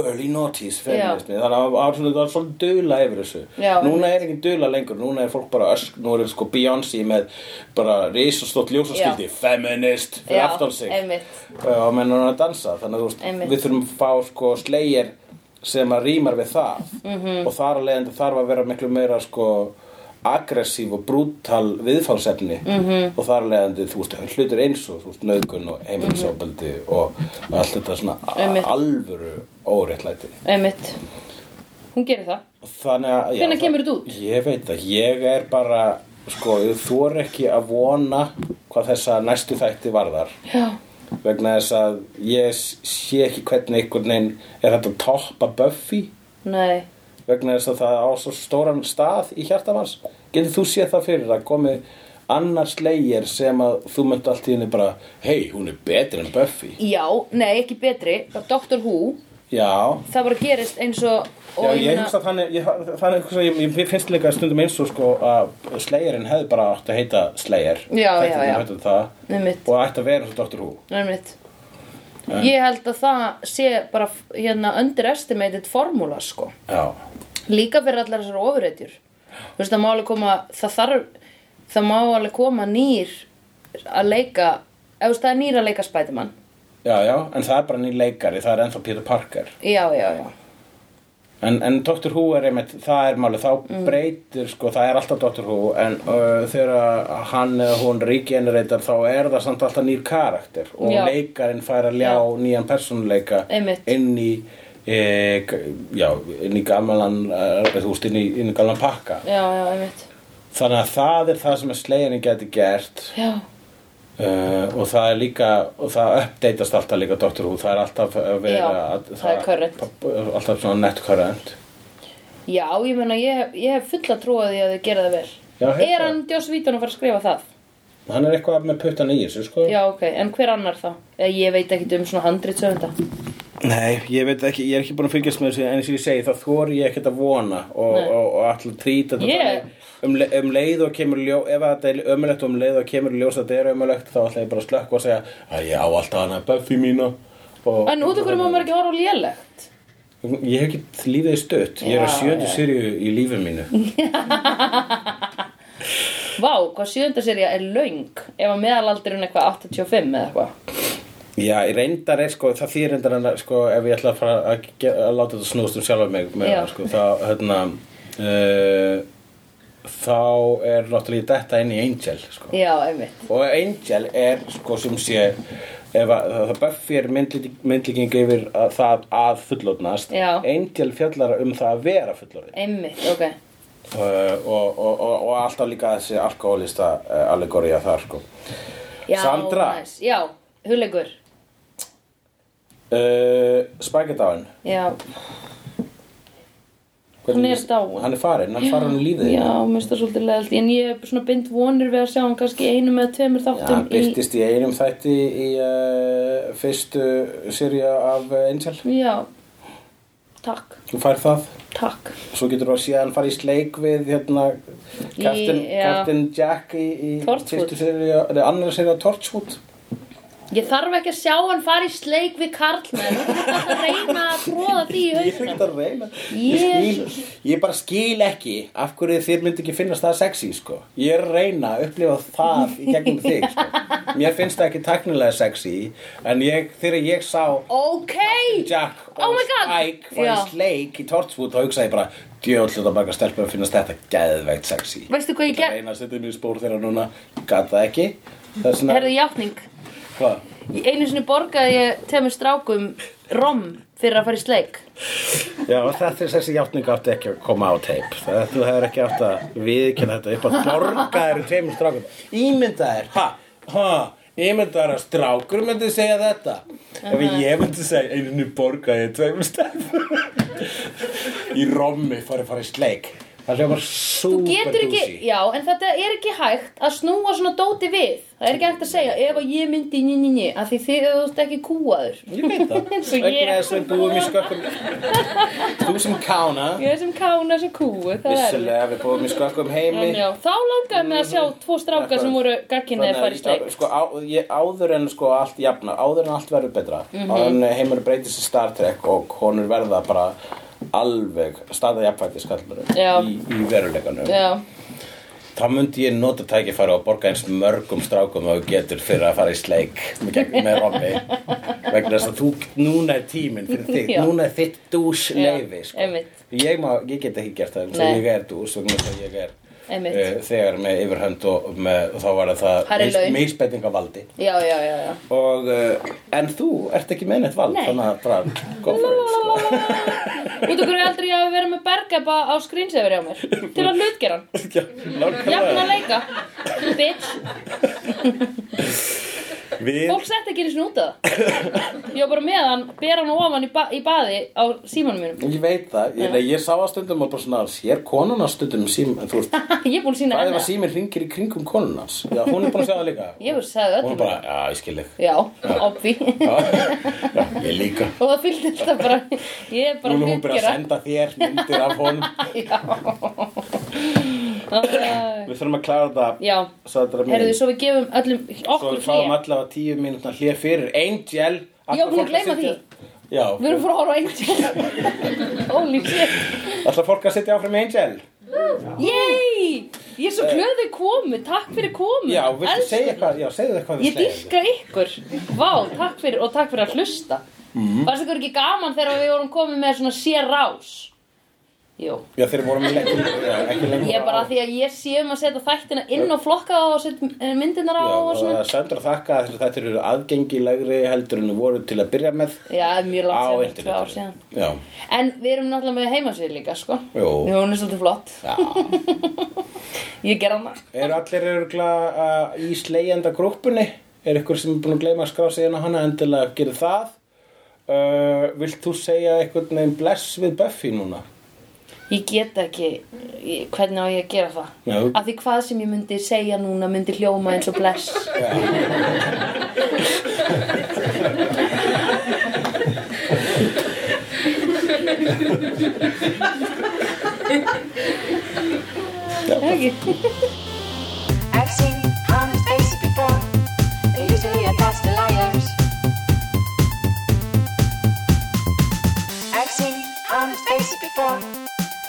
early noughties feminismi þannig að það var svona, það var svona dula yfir þessu
Já,
núna er ekki dula lengur, núna er fólk bara ösk, nú er sko Beyoncé með bara risastótt ljósaskildi,
Já.
feminist fyrir
Já,
aftan sig
einmitt.
Eh, og menn hún er að dansa þannig að þú veist,
Einmitt.
við þurfum að fá sko slegir sem að rýmar við það
Mhm.
-hmm. og þar að leiðandi þarf að vera miklu meira sko aggressív og brútal viðfálsefni
Mhm.
-hmm. og þar að leiðandi þú veist, hlutir eins og þú veist, nöðgun og heimilisofbeldi og allt þetta svona
Mhm. Einmitt.
a- alvöru óréttlæti
einmitt Hún gerir það
þannig að já,
Hvenær
það-
kemur þetta út?
Ég veit það, ég er bara sko, ég þor ekki að vona hvað þessa næstu þætti varðar
Já,
vegna þess að ég sé ekki hvernig einhvern veginn er hægt að toppa Buffy
nei
vegna þess að það á svo stóran stað í hjartamanns getur þú séð það fyrir að komi annar slegir sem að þú myndi allt í henni bara hei, hún er betri en Buffy
Já, nei, ekki betri Doctor Who,
já,
það bara gerist eins og og hérna-
já ég
meina-
hugsa þannig ég, þannig hugsa, ég, ég finnst líka stundum eins og sko að slegirinn hefði bara átt að heita slegir
Já, já, já.
um það,
Einmitt,
og ætti að vera svo Dr. Who
einmitt Ég held að það sé bara hérna underestimated formúla sko
já,
Líka fyrir allar þessar ofurreitjur Þú veist, það má alveg koma það þarf, það má alveg koma nýr að leika Ef þú veist, það er nýra að leika Spiderman
Já, já, en það er bara nýr leikari, það er ennþá Peter Parker.
Já, já, já
En, en Dr. Who er einmitt, það er málið, þá
Mm.
breytir, sko, það er alltaf Dr. Who, en uh, þegar hann eða hún regenereitar þá er það samt alltaf nýr karakter og
Já.
leikarinn fær að ljá
Já.
nýjan persónuleika
Einmitt.
inn í, e, já, inn í gamlan, uh, þú veist, inn í, inn í gamlan pakka.
Já, já, einmitt
Þannig að það er það sem að sleginu geti gert
Já,
Uh, og það er líka og það uppdeitast alltaf líka Dr. Who það er alltaf að vera
Já,
að,
það er current.
alltaf svona net current
já ég meina, ég, hef- ég hef fulla trúa því að þau gera það vel
Já, hérna. heyrðu
Er
það.
hann Joss Vítun að fara að skrifa það?
hann er eitthvað með puttan í þessu sko
Já, ok, en hver annar þá? Eh, Ég veit ekki um svona handrit sögunda
nei, ég veit ekki, ég er ekki búin að fylgjast með þessu en eins og ég segi, það þóri ég ekkert að vona og,
Nei.
og, og, alltaf trýta þetta
Ég-
þannig um, le- um leið og kemur ljó ef þetta er ömulegt og um leið og kemur ljós að þetta er ömulegt þá ætla ég bara að slökk og segja að ég á alltaf hana Buffy mína og,
En út af hverju má maður ekki horfa á lélegt?
ég hef ekki lífið í stutt ég er á
Já,
sjöndu
já.
sirju í lífið mínu
Vá, hvað sjönda serja er löng Ef að meðalaldurinn eitthvað 85 eða eitthvað
Já, í reyndar er sko, það þýr reyndar en að, sko, ef ég ætla að fara að, ge- að láta þetta snúast um sjálfa mig með
Já.
það, sko, þá, hérna, uh, þá er náttúrulega þetta inn í Angel, sko.
Já, einmitt
Og Angel er, sko, sem sé, ef að, það Buffy er myndlíking yfir að, það að fullorðnast,
Já.
Angel fjallar um það að vera fullorðin.
Einmitt, ok
Uh, og, og, og, og alltaf líka þessi alkoholista uh, allegorja þar, sko.
já,
Sandra.
næs. Já, hulegur
Uh, Spaghetáin.
Já,
Hvernig-
Hún er dáin.
Hann er farinn, hann er farinn úr lífið.
já, mér finnst það svolítið leðalt En ég er svona bind vonir við að sjá hann kannski í einum eða tveimur
Já,
þáttum
hann byrtist í einum þætti í uh, fyrstu sirja af uh, Angel.
í... Já, takk,
Þú fær það.
takk
Svo getur þú að síðan fara í sleik við hérna Captain,
Í, já.
Captain Jack í, í
Torchwood.
fyrstu sirja, eða annar sirja Torchwood.
Ég þarf ekki að sjá hann fara í sleik við karlmenn Þú þarf að reyna að tróða því í
Ég er
hausnum
ekkert að reyna. Ég,
Jesus.
skil, ég bara skil ekki af hverju þér myndi ekki finnast það sexy, sko. Ég er að reyna að upplifa það í gegnum þig, sko. Mér finnst það ekki tæknilega sexy, en ég, þegar ég sá
Ok,
Jack og
Oh my God.
Spike fæði
Já.
sleik í Torchwood þá hugsaði ég bara djöðl þetta marga stelpur að finnast þetta geðveikt sexy
veistu hvað ég
Ég
ger?
reyna að setja mig í spór þeirra núna gat það ekki það er svona
Herðu játning
hvað
Í Einu sinni borgaði ég tveimur strákum rom fyrir að fara í sleik
já og þetta er þessi játning átti ekki að koma á teip þú hefur ekki átt að viðkynna þetta upp að borga þeirra tveimur strákum ímyndaðir ha ha ímyndaðir að strákur myndi segja þetta ef ég myndi segja einu borga ég tveimur stelpur í rommi farið farið sleik það sé bara
Þú
super
getur ekki, já, en þetta er ekki hægt að snúa svona dóti við. Það er ekki hægt að segja, ef að ég myndi nj, nj, nj, að því þið þú ert ekki kúaður.
Ég veit það,
Eins og ég.
vegna þess að búum í skökkum Þú sem kána
Ég er sem kána sem kúu, það er erfitt.
Vissulega, við búum í skökkum heimi
En já, þá langaði mig að sjá tvo stráka sem voru gagkinni að fara í
Þannig
steik.
að, sko, á, ég, áður en sko allt jafna, áður en allt verður betra
Mhm.
áður en heimur breytist í Star Trek og konur verða bara alveg staða jafnfætti skallur
Já.
í, í veruleikanum
Já,
þá myndi ég nota tækifæri og borga eins mörgum strákum og þú getur fyrir að fara í sleik með, gegn- með Robby vegna þess að þú, núna er tíminn fyrir þig,
Já.
núna er þitt dús leifi sko.
einmitt.
ég, má, ég get ekki gert það
Nei.
þegar ég er dús vegna þess að ég er
Einmitt.
eh, þegar með yfirhönd og með, þá var það
Hærri laun.
misbendingavaldi
já, já, já, já.
og, uh, en þú ert ekki með neitt vald
Nei.
þannig að bara, go for it sko.
Út okkur er aldrei að vera með bergepa á skrýnseður hjá mér. Til að hlutgera hann.
Já, nákvæmlega.
Jafna leika. Bitch.
við
Fólk sett ekki einu sinni út að það Ég var bara með hann, ber hann ofan í, ba í baði á símanum mínum
Ég veit það, ég, ég sá að stundum og bara svona, sér konan að stundum sím, en þú veist,
Ég er búin að sína
Bæði
henni
var
það.
síminn ringir í kringum konun hans Já, hún er búin að segja það líka
Ég voru sagði
Hún er
öllum
bara, já, ég skil þig
Já, obvi
Já, já, ég líka
Og það fylgdi þetta bara Ég er bara
Núna er hún byrja að senda þér myndir af honum
Já,
Við þurfum að klára þetta
Já.
Sandra mín
Herðu, svo við gefum öllum
Svo
okkur
við fáum
hlýja
allavega tíu mínútna hlið fyrir Angel
Já, búin að gleyma
Já,
Við erum frá að horfa á Angel Holy shit
alltaf fólk að sitja áfram með Angel
Yay! Ég er svo glöðið komu, takk fyrir komu
Eh. Já, viltu
Elsku-
segja eitthvað, já, segðu eitthvað við
Ég dýrka ykkur Vá, takk fyrir og takk fyrir að hlusta mm.
Mhm.
Fannst ykkur ekki gaman þegar við vorum komin með svona sér rás Jó
Já, þeir vorum lengur, já, ekki lengur
Ég bara
á-
af því að ég sé um að setja þættina inn og flokka þá og setja eh, myndirnar á
Já,
og
og það
svona
er söndra þakka að þetta eru aðgengilegri heldur en þau voru til að byrja með
Já, mjög
á
langt sér, tvö ár
internetinu.
síðan
Já,
En við erum náttúrulega með heimasvið líka, sko
Jú.
Jú, hún er svolítið flott
já.
Ég ger hana
Eru allir örgla uh, í slegjenda grúppunni? Er ykkur sem er búin að gleyma að skrá sig inn á hana endilega að gera það? Uh, vilt þú segja eitthvað neginn bless við Buffy núna?
Ég get ekki, ég, hvernig á ég að gera það?
Já.
Af því hvað sem ég myndi segja núna myndi hljóma eins og bless. Ekki.
I've seen honest faces before. They usually are past the liars. I've seen honest faces before.